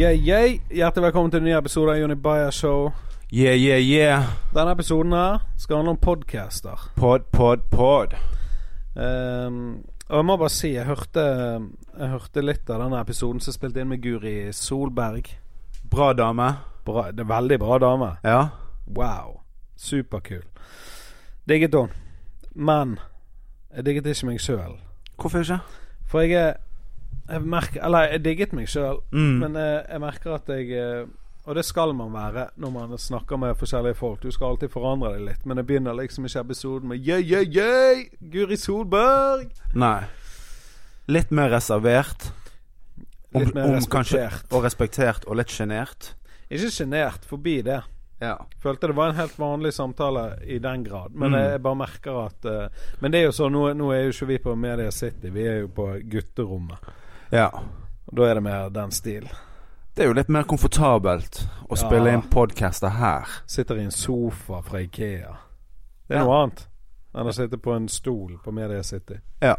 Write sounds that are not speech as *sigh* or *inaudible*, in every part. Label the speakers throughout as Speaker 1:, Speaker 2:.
Speaker 1: Yeah, yeah. Hjertelig velkommen til en ny episode av Jonny Bayer Show.
Speaker 2: Yeah, yeah, yeah.
Speaker 1: Denne episoden her skal handle om podcaster.
Speaker 2: Pod, pod, pod.
Speaker 1: Ehm, og jeg må bare si, jeg hørte, jeg hørte litt av denne episoden som jeg spilte inn med Guri Solberg.
Speaker 2: Bra dame.
Speaker 1: Bra, det er veldig bra dame.
Speaker 2: Ja.
Speaker 1: Wow. Superkul. Digget hun. Men jeg digget ikke meg sjøl.
Speaker 2: Hvorfor ikke?
Speaker 1: For jeg er jeg merker, Eller jeg digget meg sjøl,
Speaker 2: Mm.
Speaker 1: men jeg, jeg merker at jeg eh, Og det skal man være når man snakker med forskjellige folk. Du skal alltid forandre deg litt, men jeg begynner liksom ikke episoden med yeah, yeah, yeah, Guri Solberg.
Speaker 2: Nei. Litt mer reservert.
Speaker 1: Litt mer
Speaker 2: kanskje-
Speaker 1: respektert.
Speaker 2: og respektert og litt sjenert.
Speaker 1: Ikke sjenert. Forbi det.
Speaker 2: Ja.
Speaker 1: Følte det var en helt vanlig samtale i den grad. Men
Speaker 2: Mm.
Speaker 1: jeg, jeg bare merker at eh, Men det er jo sånn, nå, nå er jo ikke vi på Media City, vi er jo på gutterommet.
Speaker 2: ja.
Speaker 1: Og da er det mer den stil.
Speaker 2: Det er jo litt mer komfortabelt å
Speaker 1: Ja.
Speaker 2: spille inn podcaster her.
Speaker 1: Sitter i en sofa fra Ikea. Det er
Speaker 2: Ja.
Speaker 1: noe annet enn å sitte på en stol på Media City.
Speaker 2: Ja.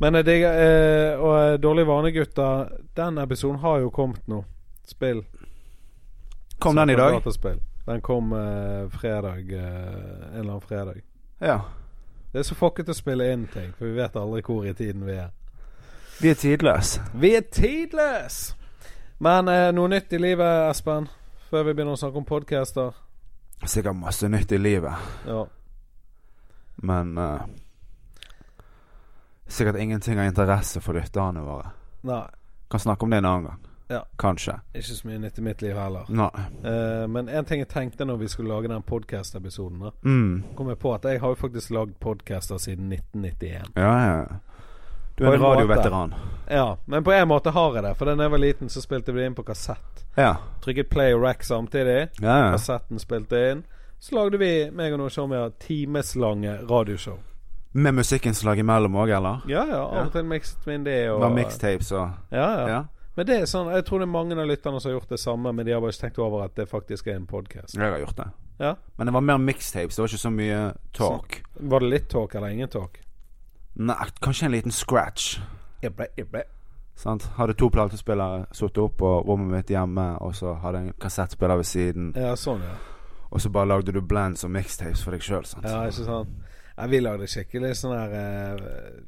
Speaker 1: Men jeg digger eh, Og eh, Dårlig vanegutter, den episoden har jo kommet nå. Spill.
Speaker 2: Kom den i
Speaker 1: Som på
Speaker 2: dag?
Speaker 1: Dataspill. Den kom eh, fredag. Eh, en eller annen fredag.
Speaker 2: Ja.
Speaker 1: Det er så fucket å spille inn ting, for vi vet aldri hvor i tiden vi er.
Speaker 2: Vi er tidløse.
Speaker 1: Vi er tidløse! Men eh, noe nytt i livet, Espen? Før vi begynner å snakke om podcaster.
Speaker 2: Sikkert masse nytt i livet,
Speaker 1: Ja.
Speaker 2: men eh, Sikkert ingenting av interesse for lytterne våre.
Speaker 1: Nei,
Speaker 2: Kan snakke om det en annen gang.
Speaker 1: Ja.
Speaker 2: Kanskje.
Speaker 1: ikke så mye nytt i mitt liv heller.
Speaker 2: Nei.
Speaker 1: Eh, men én ting jeg tenkte når vi skulle lage den podkast-episoden, da,
Speaker 2: Mm.
Speaker 1: kom jeg på at jeg har jo faktisk lagd podkaster siden 1991.
Speaker 2: Ja, ja. ja. Du
Speaker 1: På
Speaker 2: er en
Speaker 1: en måte.
Speaker 2: radioveteran.
Speaker 1: Ja, men på en måte har jeg det, for da jeg var liten, så spilte vi det inn på kassett.
Speaker 2: Ja.
Speaker 1: Trykket play og rack samtidig.
Speaker 2: ja, ja.
Speaker 1: Kassetten spilte inn. Så lagde vi meg og noen showmere timeslange radioshow.
Speaker 2: Med musikkinnslag imellom òg, eller?
Speaker 1: Ja, ja. Av og til mikset vi inn det. Og,
Speaker 2: Det var mixtapes og
Speaker 1: Ja, ja.
Speaker 2: Ja.
Speaker 1: Men det er sånn, jeg tror det er mange av lytterne som har gjort det samme, men de har bare ikke tenkt over at det faktisk er en podkast.
Speaker 2: Jeg har gjort det.
Speaker 1: Ja.
Speaker 2: Men det var mer mixtapes. Det var ikke så mye talk.
Speaker 1: Var det litt talk eller ingen talk?
Speaker 2: Nei, kanskje en liten scratch.
Speaker 1: Ibbe, ibbe.
Speaker 2: Sant? Hadde to platespillere sittet opp på rommet mitt hjemme, og så hadde jeg en kassettspiller ved siden,
Speaker 1: Ja, sånn, ja.
Speaker 2: og så bare lagde du blends og mixtapes for deg sjøl, sant?
Speaker 1: Ja, ikke sant. Nei, vi lagde skikkelig sånn her eh,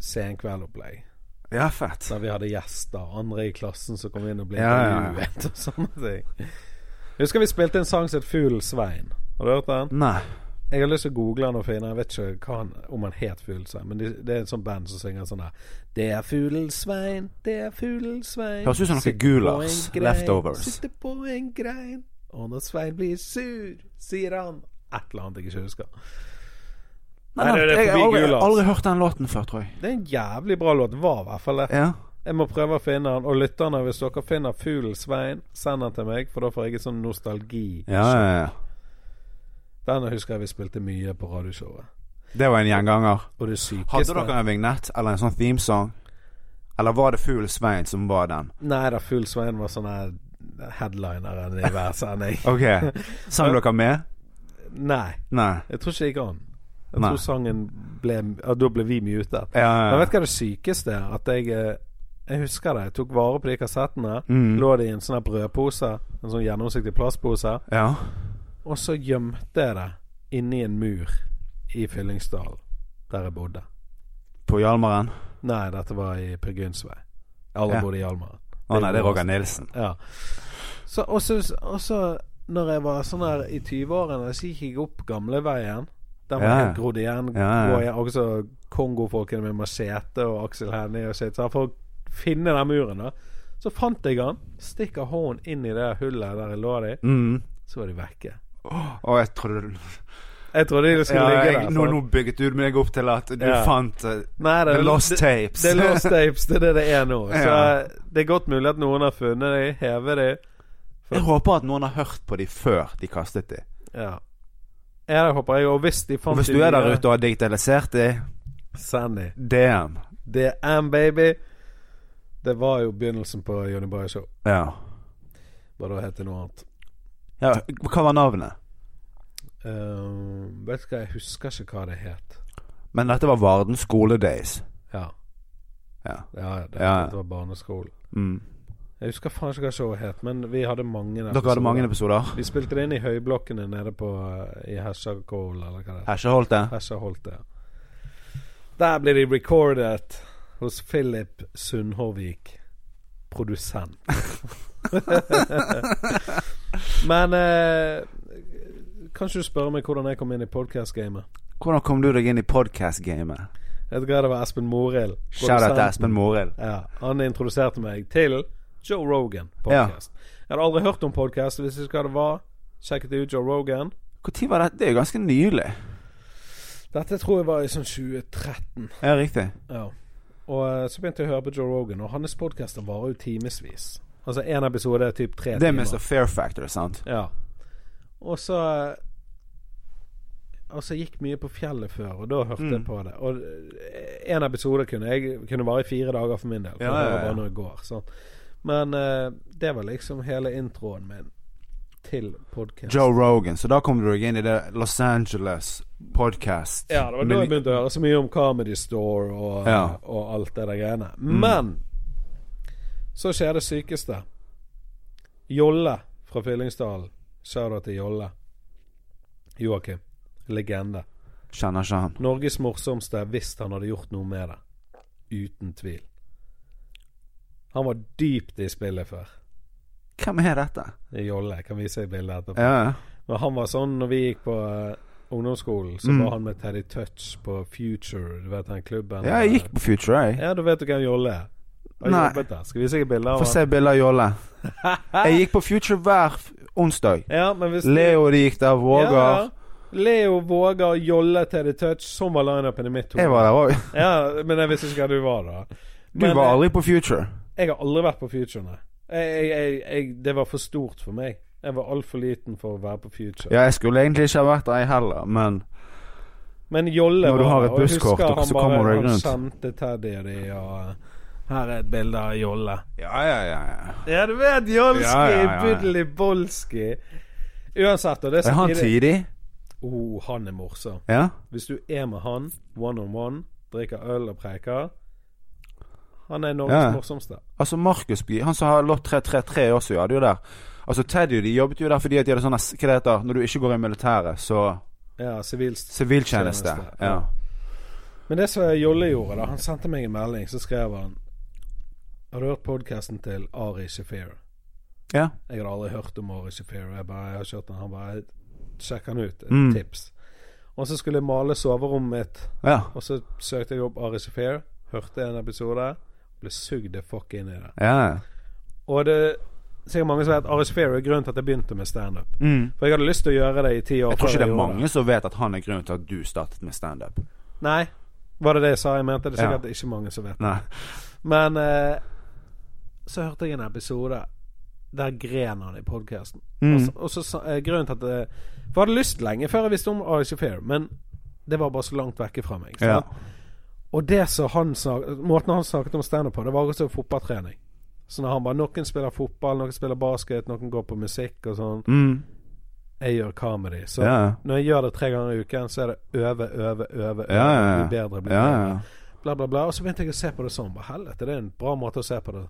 Speaker 1: senkveldopplegg.
Speaker 2: Ja, fett.
Speaker 1: Der vi hadde gjester, andre i klassen som kom inn og ble
Speaker 2: Ja, ja, ja.
Speaker 1: intervjuet og sånne ting. Husker vi spilte en sang som het Fuglen Svein. Har du hørt den?
Speaker 2: Nei.
Speaker 1: Jeg har lyst til å google han og finne Jeg vet ikke hva han, om han het Fuglesvein, men det, det er et sånt band som synger sånn der Det er Fuglesvein, det er Fuglesvein
Speaker 2: Høres ut som noe
Speaker 1: Sitter
Speaker 2: Gulas,
Speaker 1: på en grein,
Speaker 2: leftovers.
Speaker 1: Sitter på en grein, og når Svein blir sur, sier han Et eller annet jeg ikke husker. Nei, det er det
Speaker 2: jeg har
Speaker 1: forbi
Speaker 2: aldri,
Speaker 1: Gulas.
Speaker 2: aldri hørt den låten før, tror jeg.
Speaker 1: Det er en jævlig bra låt. Var i hvert fall det.
Speaker 2: Ja.
Speaker 1: Jeg må prøve å finne den. Og lytterne, hvis dere finner Fuglesvein, send den til meg, for da får jeg et sånn nostalgi.
Speaker 2: Ja, ja, ja.
Speaker 1: Den husker jeg vi spilte mye på radioshowet.
Speaker 2: Det var en gjenganger.
Speaker 1: Og det sykeste
Speaker 2: Hadde dere en vignett eller en sånn themesong? Eller var det Fugl Svein som var den?
Speaker 1: Nei da, Full Svein var sånn her headlineren i hver
Speaker 2: *laughs*
Speaker 1: sending. *laughs*
Speaker 2: Ok, Sang dere med?
Speaker 1: Nei,
Speaker 2: Nei.
Speaker 1: jeg tror ikke det gikk an. Jeg
Speaker 2: Nei.
Speaker 1: tror sangen ble ja, Da ble vi
Speaker 2: Ja,
Speaker 1: mutet. Men
Speaker 2: ja, ja.
Speaker 1: vet du hva det sykeste er? At jeg eh, Jeg husker det. Jeg tok vare på de kassettene.
Speaker 2: Mm.
Speaker 1: Lå det i en sånn her brødpose, en sånn gjennomsiktig plastpose,
Speaker 2: ja.
Speaker 1: og så gjemte jeg det inni en mur i Fyllingsdalen, der jeg bodde.
Speaker 2: På Hjalmaren?
Speaker 1: Nei, dette var i Per Gyns vei. Jeg har aldri
Speaker 2: Ja.
Speaker 1: bodd i Hjalmar.
Speaker 2: Å nei, det er Roger Nilsen.
Speaker 1: Ja. Så, og så- og så når jeg var sånn her i 20-årene, så gikk jeg opp gamleveien. Den var
Speaker 2: Ja, ja.
Speaker 1: helt grodd igjen.
Speaker 2: Ja, ja.
Speaker 1: Gå igjen. Også kongofolkene med machete og Aksel Hennie og shit. Så for å finne den muren, da. Så fant jeg den. Stikker hånden inn i det hullet der jeg lå i,
Speaker 2: Mm.
Speaker 1: så var de vekke.
Speaker 2: Og jeg trodde du
Speaker 1: Jeg trodde de skulle
Speaker 2: ja,
Speaker 1: ligge
Speaker 2: jeg,
Speaker 1: der.
Speaker 2: nå,
Speaker 1: sånn.
Speaker 2: nå bygget du meg opp til at du
Speaker 1: Ja.
Speaker 2: fant eh,
Speaker 1: Nei, det,
Speaker 2: The Lost
Speaker 1: det,
Speaker 2: Tapes.
Speaker 1: det
Speaker 2: *laughs*
Speaker 1: er lost tapes. Det er det det er nå. Så
Speaker 2: Ja.
Speaker 1: eh, det er godt mulig at noen har funnet de, hevet de.
Speaker 2: jeg håper at noen har hørt på de før de kastet de.
Speaker 1: Ja. Ja, det håper jeg. Og hvis de
Speaker 2: Og
Speaker 1: fant
Speaker 2: hvis
Speaker 1: de
Speaker 2: du er der
Speaker 1: nye-
Speaker 2: ute og har digitalisert de,
Speaker 1: Sandy.
Speaker 2: DM.
Speaker 1: DM, baby. Det var jo begynnelsen på Johnny Bayer Show.
Speaker 2: Ja.
Speaker 1: Bare da het det noe annet.
Speaker 2: ja. Hva var navnet?
Speaker 1: Eh, vet du hva, jeg husker ikke hva det het.
Speaker 2: Men dette var Varden Skole Days.
Speaker 1: Ja.
Speaker 2: Ja.
Speaker 1: Ja, det,
Speaker 2: Ja.
Speaker 1: det var barneskole.
Speaker 2: Mm.
Speaker 1: Jeg husker faen ikke hva showet het, men vi hadde mange
Speaker 2: Dere hadde mange episoder.
Speaker 1: Vi spilte det inn i høyblokkene nede på eh, i Hesjakål, eller hva det heter.
Speaker 2: Har ikke holdt det.
Speaker 1: Hesja holdt det. Der ble de recordet hos Philip Sundhåvik, produsent. *laughs* men eh, kan ikke du spørre meg hvordan jeg kom inn i podcast-gamet?
Speaker 2: Hvordan kom du deg inn i podcast-gamet?
Speaker 1: Jeg vet ikke hva det var Espen Morild.
Speaker 2: Shout-out til
Speaker 1: produsenten.
Speaker 2: Espen Morild.
Speaker 1: Ja, han introduserte meg til Joe Rogan podcast. Jeg hadde aldri hørt om podcast hvis jeg ikke hva det var. Sjekket det ut Joe Rogan.
Speaker 2: Når var det? Det er jo ganske nylig.
Speaker 1: Dette tror jeg var i sånn 2013.
Speaker 2: Ja, riktig.
Speaker 1: Ja. Og eh, så begynte jeg å høre på Joe Rogan, og hans podkaster varer jo timevis. Altså én episode er typ tre
Speaker 2: Det er Mr. Fair Factor, sant?
Speaker 1: Ja. Og så eh, Og så gikk mye på fjellet før, og da hørte jeg
Speaker 2: Mm.
Speaker 1: på det. Og én episode kunne jeg kunne vare i fire dager for min del. For
Speaker 2: Ja,
Speaker 1: Det
Speaker 2: ja,
Speaker 1: var
Speaker 2: ja.
Speaker 1: bare noe i går. sant? Men eh, det var liksom hele introen min til podkast.
Speaker 2: Joe Rogan. Så da kom du deg inn i det Los Angeles podcast.
Speaker 1: Ja, det var da jeg begynte å høre så mye om Comedy Store og,
Speaker 2: Ja.
Speaker 1: og alt det der greiene. Men så skjer det sykeste. Jolle fra Fyllingsdalen. Shout-out til Jolle. Joakim. Legende.
Speaker 2: Kjenner ikke han.
Speaker 1: Norges morsomste hvis han hadde gjort noe med det. Uten tvil. Han var dypt i spillet før.
Speaker 2: Hvem er dette?
Speaker 1: Jolle. Jeg kan vise deg bildet etterpå.
Speaker 2: Ja, ja.
Speaker 1: Men han var sånn når vi gikk på eh, ungdomsskolen,
Speaker 2: Mm.
Speaker 1: så var han med Teddy Touch på Future, du vet den klubben?
Speaker 2: ja, jeg gikk på Future, jeg.
Speaker 1: Ja, du vet jo hvem Jolle er? Har
Speaker 2: Nei.
Speaker 1: jobbet der. Skal vi se bilder av
Speaker 2: Få se bilder av
Speaker 1: *laughs*
Speaker 2: Jolle. Jeg gikk på Future hver f- onsdag.
Speaker 1: Ja, men hvis
Speaker 2: Leo de gikk der,
Speaker 1: Ja, ja.
Speaker 2: Vågar.
Speaker 1: Leo Vågar, Jolle, Teddy Touch. Sånn var lineupen i mitt hode.
Speaker 2: Jeg var der òg.
Speaker 1: Ja, men jeg visste ikke hva du var da.
Speaker 2: Du
Speaker 1: Men,
Speaker 2: var
Speaker 1: eh,
Speaker 2: aldri på Future.
Speaker 1: Jeg har aldri vært på Future, nei. Jeg, jeg, jeg, jeg, det var for stort for meg. Jeg var altfor liten for å være på Future.
Speaker 2: Ja, jeg skulle egentlig ikke ha vært der, jeg heller, men
Speaker 1: Men Jolle
Speaker 2: Når du
Speaker 1: var
Speaker 2: har
Speaker 1: der,
Speaker 2: et
Speaker 1: og jeg
Speaker 2: busskort,
Speaker 1: husker
Speaker 2: og
Speaker 1: han
Speaker 2: så kommer
Speaker 1: bare-
Speaker 2: du deg rundt.
Speaker 1: Han skjemte Teddy og de, og Her er et bilde av Jolle.
Speaker 2: Ja, ja, ja. ja.
Speaker 1: Ja, du vet Jolski,
Speaker 2: Ja, ja, ja.
Speaker 1: Budli Bolski. Uansett, og Altså, det
Speaker 2: Er han tidig?
Speaker 1: Oh, han er morsom.
Speaker 2: Ja?
Speaker 1: Hvis du er med han, one on one, drikker øl og preker Han er Norges
Speaker 2: Ja.
Speaker 1: morsomste.
Speaker 2: Altså Markus By, han som har lott 333 også, ja, det er jo der. Altså Teddy de jobbet jo der fordi at de hadde sånne s- Hva det heter når du ikke går i militæret, så
Speaker 1: Ja, sivilst.
Speaker 2: Siviltjeneste.
Speaker 1: Tjeneste, ja.
Speaker 2: Ja.
Speaker 1: Men det som Jolle gjorde, da Han sendte meg en melding, så skrev han Har du hørt podkasten til Ari Shafir?
Speaker 2: ja.
Speaker 1: Jeg hadde aldri hørt om Ari Shafir. Jeg bare, jeg har kjørt den. Han bare Sjekk han ut. Et
Speaker 2: Mm.
Speaker 1: tips. Og så skulle jeg male soverommet mitt.
Speaker 2: Ja.
Speaker 1: Og så søkte jeg opp Ari Shafir, hørte en episode, ble sugd the fuck inn i det.
Speaker 2: ja.
Speaker 1: Og det er sikkert mange som vet at Ari Shafir er grunnen til at jeg begynte med standup.
Speaker 2: Mm.
Speaker 1: For jeg hadde lyst til å gjøre det i ti år.
Speaker 2: Jeg tror
Speaker 1: før
Speaker 2: ikke det er
Speaker 1: gjorde
Speaker 2: mange som vet at han er grunnen til at du startet med standup.
Speaker 1: Nei. Var det det jeg sa? Jeg mente det er
Speaker 2: Ja.
Speaker 1: sikkert ikke mange som vet.
Speaker 2: Nei.
Speaker 1: Men eh, så hørte jeg en episode der gren han i podkasten.
Speaker 2: Mm.
Speaker 1: Og så, og så sa- eh, grunnen til at det, For jeg hadde lyst lenge før jeg visste om Ari Shafir, men det var bare så langt vekke fra meg.
Speaker 2: Ja.
Speaker 1: sant? Og det som han sa måten han snakket om standup på, det var også fotballtrening. Så når han bare Noen spiller fotball, noen spiller basket, noen går på musikk og sånn.
Speaker 2: Mm.
Speaker 1: Jeg gjør comedy. Så
Speaker 2: Ja, ja.
Speaker 1: når jeg gjør det tre ganger i uken, så er det øve, øve, øve. øve
Speaker 2: Ja, ja, ja.
Speaker 1: Bli bedre, bli
Speaker 2: Ja,
Speaker 1: bedre.
Speaker 2: ja.
Speaker 1: Bla, bla, bla. Og så begynte jeg å se på det sånn. Bare helvete, det er en bra måte å se på det.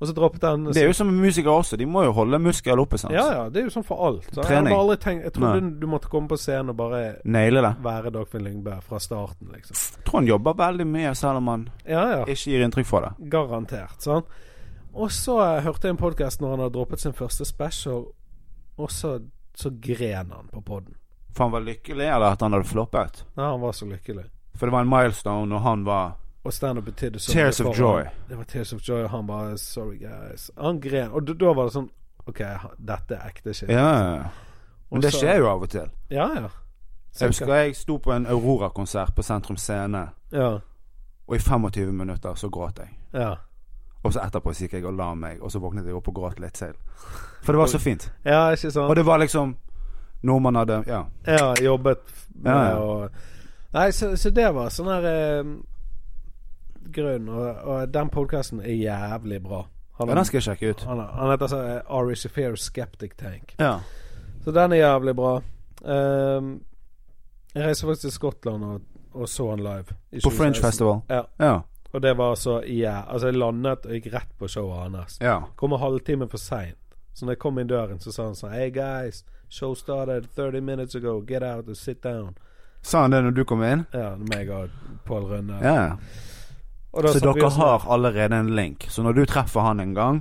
Speaker 1: Og så droppet han
Speaker 2: Det er jo som med musikere også, de må jo holde muskler oppe, sant.
Speaker 1: Ja, ja. Det er jo sånn for alt. Så jeg,
Speaker 2: Trening.
Speaker 1: hadde aldri tenkt, jeg trodde du måtte komme på scenen og bare
Speaker 2: Naile det.
Speaker 1: være Dagfinn Lyngbø fra starten, liksom.
Speaker 2: Jeg tror han jobber veldig mye, selv om han
Speaker 1: Ja, ja.
Speaker 2: ikke gir inntrykk fra det.
Speaker 1: Garantert. Sånn. Og så eh, hørte jeg en podkast når han hadde droppet sin første special, og så, så gren han på poden.
Speaker 2: For han var lykkelig, eller at han hadde floppet.
Speaker 1: Nei, han var så lykkelig.
Speaker 2: For det var en milestone, og han var
Speaker 1: Og standup betydde så
Speaker 2: Tears
Speaker 1: mye
Speaker 2: of
Speaker 1: for
Speaker 2: joy.
Speaker 1: Han. Det var Tears of Joy, og han bare Sorry, guys. Han gren. Og da- da var det sånn OK, ha- dette er ekte shit.
Speaker 2: Ja, ja, ja. Men
Speaker 1: Og
Speaker 2: det
Speaker 1: så-
Speaker 2: skjer jo av og til.
Speaker 1: Ja, ja.
Speaker 2: Jeg husker jeg sto på en Aurora-konsert på Sentrum Scene,
Speaker 1: Ja.
Speaker 2: og i 25 minutter så gråt jeg.
Speaker 1: Ja.
Speaker 2: Og så etterpå så gikk jeg og la meg, og så våknet jeg opp og gråt litt til. For det var så fint.
Speaker 1: ja, ikke
Speaker 2: Og
Speaker 1: sant?
Speaker 2: det var liksom noe man hadde Ja.
Speaker 1: Ja, jobbet med
Speaker 2: Ja, ja.
Speaker 1: og Nei, så, så det var sånn her eh, grunn. Og, og den podkasten er jævlig bra. Han
Speaker 2: ja den skal jeg sjekke ut.
Speaker 1: Han, han heter så, eh, Ari Shafir Skeptic Tank.
Speaker 2: Ja.
Speaker 1: Så den er jævlig bra. Ehm, jeg reiste faktisk til Skottland og, og så han live. i
Speaker 2: På Fringe
Speaker 1: 2016.
Speaker 2: Festival.
Speaker 1: Ja.
Speaker 2: Ja.
Speaker 1: Og det var så ja. Altså, jeg landet og gikk rett på showet hans.
Speaker 2: Ja.
Speaker 1: Kom en halvtime for seint. Så når jeg kom inn døren, så sa han sånn Hey guys, show started 30 minutes ago. Get out and sit down.
Speaker 2: Sa han det når du kom inn?
Speaker 1: Ja, meg og Pål Rønne.
Speaker 2: Ja.
Speaker 1: Og da
Speaker 2: Så
Speaker 1: satt vi
Speaker 2: dere
Speaker 1: oss ned.
Speaker 2: har allerede en link. Så når du treffer han en gang,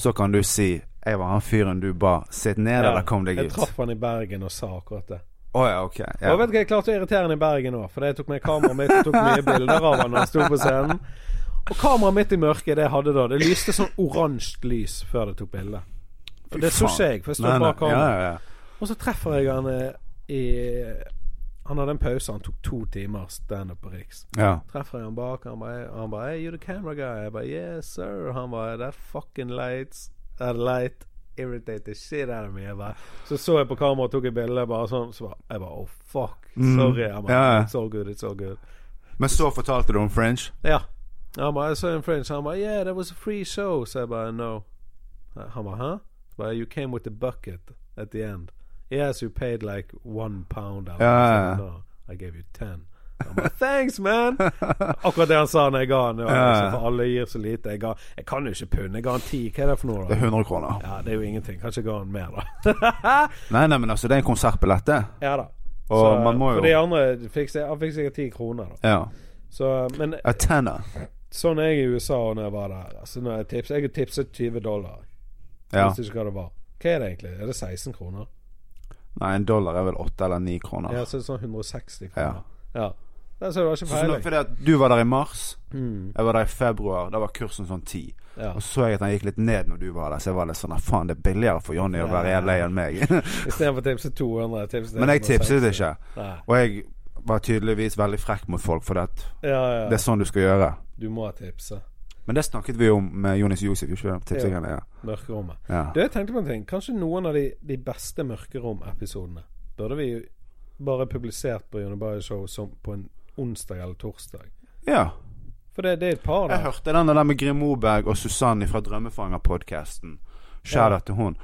Speaker 2: så kan du si 'Jeg var han fyren du ba sitt ned,
Speaker 1: Ja,
Speaker 2: eller kom deg
Speaker 1: Jeg
Speaker 2: ut'. Å
Speaker 1: traff han i Bergen og sa akkurat det.
Speaker 2: ja, ok.
Speaker 1: Og
Speaker 2: Ja.
Speaker 1: vet du hva, jeg klarte å irritere han i Bergen òg, for jeg tok med kameraet mitt og tok mye bilder av han når han sto på scenen. Og kameraet mitt i mørket, det jeg hadde da, det lyste sånn oransje lys før det tok bilde. Og det så
Speaker 2: faen.
Speaker 1: ikke jeg, for jeg sto
Speaker 2: Nei, nei.
Speaker 1: bak
Speaker 2: Ja,
Speaker 1: kameraet.
Speaker 2: ja, ja.
Speaker 1: Og så treffer jeg han eh, i Han hadde en pause, han tok to timer standup på Riks.
Speaker 2: ja.
Speaker 1: Treffer jeg han bak, han bare Han bare Hey, you the camera guy? Jeg bare Yes, sir. Og han bare That fucking lights That light irritate the shit out of me. Jeg bare Så så jeg på kamera og tok et bilde, bare sånn. Så bare Jeg bare Oh, fuck. Sorry. Han bare
Speaker 2: Mm. Ja, ja.
Speaker 1: It's all good. It's all good.
Speaker 2: Men så fortalte du om Fringe.
Speaker 1: Ja. Han bare Jeg så en fringe. Han bare Yeah, that was a free show. Så jeg bare No. Han bare Hæ? Så bare You came with a bucket at the end. Yes, you paid like one pound. out."
Speaker 2: Ja, ja, ja.
Speaker 1: Så, No, I gave you ten. Han bare, Thanks,
Speaker 2: *laughs*
Speaker 1: man! Akkurat det han sa når jeg ga han. det var
Speaker 2: Ja, ja.
Speaker 1: liksom, For alle gir så lite. Jeg, ga, jeg kan jo ikke punde. Jeg ga han ti. Hva er det for noe,
Speaker 2: Det *laughs* er
Speaker 1: da?
Speaker 2: 100 kroner.
Speaker 1: Ja, Det er jo ingenting. Kanskje jeg ga han mer,
Speaker 2: *laughs*
Speaker 1: da.
Speaker 2: Nei, nei, men altså, det er en konsertbillett, det.
Speaker 1: ja da.
Speaker 2: Og man må jo-
Speaker 1: For de andre fikk, se- han fikk sikkert ti kroner, da.
Speaker 2: Ja.
Speaker 1: Så, men
Speaker 2: A tenner.
Speaker 1: sånn er jeg i USA og når jeg var der. Altså, når jeg, tips, jeg tipset 20 dollar. Jeg
Speaker 2: Ja.
Speaker 1: visste ikke hva det var. Hva er det egentlig? Er det 16 kroner?
Speaker 2: Nei, en dollar er vel 8 eller 9 kroner.
Speaker 1: Ja, så er det sånn 160 kroner. Ja. Nei, Så det var ikke
Speaker 2: Så nå,
Speaker 1: peiling.
Speaker 2: fordi at du var der i mars,
Speaker 1: Mm,
Speaker 2: jeg var der i februar. Da var kursen sånn 10.
Speaker 1: ja.
Speaker 2: Og så så jeg at han gikk litt ned når du var der, så jeg var litt sånn "Ah, Faen, det er billigere for Johnny å være
Speaker 1: Ja.
Speaker 2: jævlig enn *laughs* meg.
Speaker 1: Istedenfor tipset 200. Tipset
Speaker 2: Men jeg
Speaker 1: 160.
Speaker 2: tipset ikke.
Speaker 1: Nei.
Speaker 2: Og jeg var tydeligvis veldig frekk mot folk, for det, at
Speaker 1: Ja, ja.
Speaker 2: det er sånn du skal gjøre.
Speaker 1: Du må tipse.
Speaker 2: Men det snakket vi om med Jonis Josef, ikke det?
Speaker 1: Jo.
Speaker 2: Tipsingene, ja.
Speaker 1: Mørkerommet.
Speaker 2: ja.
Speaker 1: Du, jeg tenkte på en ting. Kanskje noen av de, de beste Mørkerom-episodene burde vi jo bare publisert på Jonny Bayer Show som på en onsdag eller torsdag.
Speaker 2: ja.
Speaker 1: For det, det er et par
Speaker 2: Jeg
Speaker 1: der.
Speaker 2: hørte den der med Grim Moberg og Susanne fra Drømmefanger-podkasten. Shout out til hun.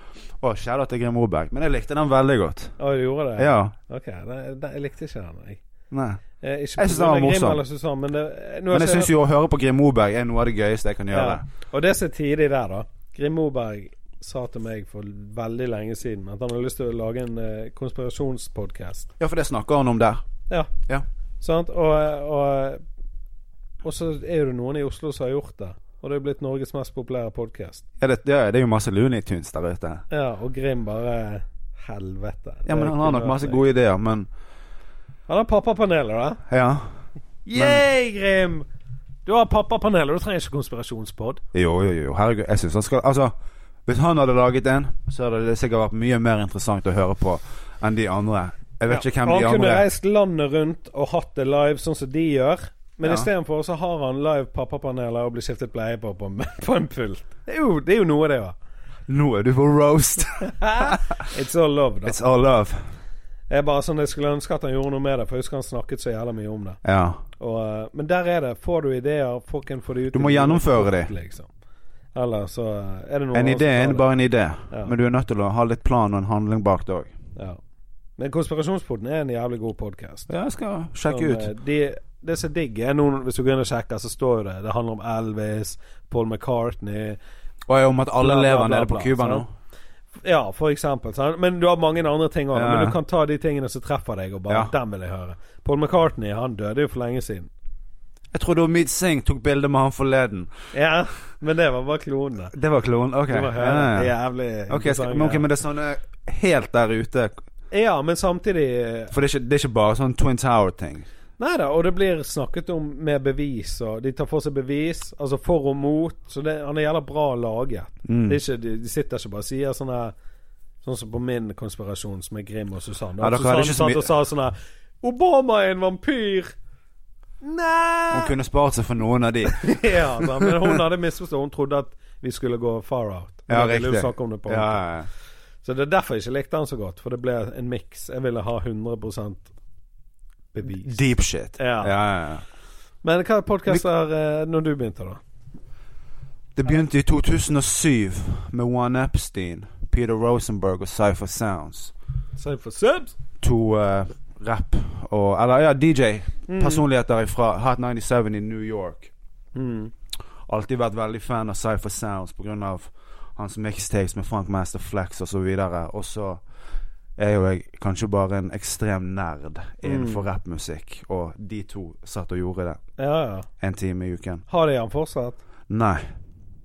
Speaker 2: Og shout out til Grim Moberg. Men jeg likte den veldig godt.
Speaker 1: Å, du gjorde det?
Speaker 2: Ja.
Speaker 1: Ok. Nei, nei, jeg likte ikke den, jeg.
Speaker 2: Nei.
Speaker 1: Eh, ikke
Speaker 2: Jeg synes den var
Speaker 1: pga. Grim
Speaker 2: morsom.
Speaker 1: eller Susanne, men det, eh, nå har
Speaker 2: Men jeg
Speaker 1: ikke
Speaker 2: syns jo å høre på Grim Moberg er noe av det gøyeste jeg kan gjøre.
Speaker 1: Ja. Og det som er tidlig der, da. Grim Moberg sa til meg for veldig lenge siden at han har lyst til å lage en eh, konspirasjonspodkast.
Speaker 2: Ja, for det snakker han om der.
Speaker 1: Ja.
Speaker 2: Ja.
Speaker 1: Sant? Og, og, og så er jo det noen i Oslo som har gjort det. Og det er blitt Norges mest populære podkast.
Speaker 2: Ja, det, ja, det er jo masse Looney Tunes der ute.
Speaker 1: Ja, og Grim bare Helvete.
Speaker 2: Ja, men
Speaker 1: Det
Speaker 2: han har
Speaker 1: kunne
Speaker 2: nok masse
Speaker 1: vært
Speaker 2: gode ideer, men
Speaker 1: jeg. Han har pappapaneler, da.
Speaker 2: Ja.
Speaker 1: Yay, Grim! Du har pappapanel, og du trenger ikke konspirasjonspod.
Speaker 2: Jo, jo, jo. Herregud. Jeg syns han skal Altså, hvis han hadde laget en, så hadde det sikkert vært mye mer interessant å høre på enn de andre. Jeg vet ikke hvem
Speaker 1: han
Speaker 2: de andre
Speaker 1: kunne
Speaker 2: er.
Speaker 1: reist landet rundt og hatt det live, sånn som de gjør. Men
Speaker 2: Ja.
Speaker 1: istedenfor så har han live pappapaneler og blir skiftet bleie på på, på en *laughs* pult. Det er jo, det er jo noe, det òg.
Speaker 2: Nå er du på roast. *laughs*
Speaker 1: It's all love, da.
Speaker 2: It's all love.
Speaker 1: Jeg bare sånn, jeg skulle ønske at han gjorde noe med det, for jeg husker han snakket så jævla mye om det.
Speaker 2: Ja.
Speaker 1: Og, eh, men der er det. Får du ideer, fucking får de ut
Speaker 2: Du må
Speaker 1: i livet
Speaker 2: gjennomføre de.
Speaker 1: fort, Liksom. Eller så eh, er det noe
Speaker 2: En idé er bare en idé,
Speaker 1: Ja.
Speaker 2: men du er nødt til å ha litt plan og en handling bak det òg.
Speaker 1: ja. Men Konspirasjonspodden er en jævlig god podkast.
Speaker 2: Ja, jeg skal sjekke ut.
Speaker 1: eh, De, det som er digg, er noen Hvis du går inn og sjekker, så står jo det Det handler om Elvis, Paul McCartney
Speaker 2: Og om at alle
Speaker 1: bla, bla,
Speaker 2: lever
Speaker 1: bla,
Speaker 2: nede på
Speaker 1: bla,
Speaker 2: Cuba nå.
Speaker 1: sant? Ja, for eksempel. Sant? Men du har mange andre ting òg.
Speaker 2: Ja, ja.
Speaker 1: Men du kan ta de tingene som treffer deg, og bare
Speaker 2: Ja.
Speaker 1: Den vil jeg høre. Paul McCartney, han døde jo for lenge siden.
Speaker 2: Jeg trodde Omid Singh tok bilde med han forleden.
Speaker 1: Ja, men det var bare klonene.
Speaker 2: Det var klonen? Ok.
Speaker 1: Du må høre.
Speaker 2: Ja,
Speaker 1: Det
Speaker 2: ja.
Speaker 1: er Jævlig
Speaker 2: Ok, jeg skal,
Speaker 1: interessant,
Speaker 2: men, ok, men det er sånne helt der ute
Speaker 1: Ja, men samtidig
Speaker 2: For det er ikke, det er ikke bare sånn Twin Tower-ting.
Speaker 1: Nei da, og det blir snakket om med bevis, og de tar for seg bevis, altså for og mot. Så det, han er jævla bra laget.
Speaker 2: Mm.
Speaker 1: Det er ikke, de, de sitter ikke bare og sier sånn her Sånn som på min konspirasjon som er Grim og Susanne.
Speaker 2: Ja, dere hadde
Speaker 1: Susanne
Speaker 2: ikke så mye-
Speaker 1: satt og sa sånn her Obama er en vampyr!
Speaker 2: Hun
Speaker 1: Nei!
Speaker 2: kunne spart seg for noen av de.
Speaker 1: *laughs* ja, da, men hun hadde misforstått. Hun trodde at vi skulle gå far out.
Speaker 2: Ja,
Speaker 1: Jeg ville jo
Speaker 2: riktig.
Speaker 1: snakke om det på
Speaker 2: Ja, ja, ja.
Speaker 1: Så det er derfor jeg ikke likte han så godt, for det ble en miks. Jeg ville ha 100 bevis.
Speaker 2: Deep shit.
Speaker 1: Ja.
Speaker 2: Ja, ja, ja.
Speaker 1: Men hva podkast er eh, når du begynte, da?
Speaker 2: Det begynte i 2007 med One Epstein, Peter Rosenberg og Cypher Sounds.
Speaker 1: Save for subs!
Speaker 2: To eh, rap og Eller ja, DJ. Personligheter fra Hot 97 i New York.
Speaker 1: Mm.
Speaker 2: Alltid vært veldig fan av Cypher Sounds pga. hans mixtakes med Frank Master Flex osv. Og så er jo jeg kanskje bare en ekstrem nerd innenfor rappmusikk, og de to satt og gjorde det
Speaker 1: Ja, ja.
Speaker 2: en time i uken.
Speaker 1: Har de han fortsatt?
Speaker 2: Nei.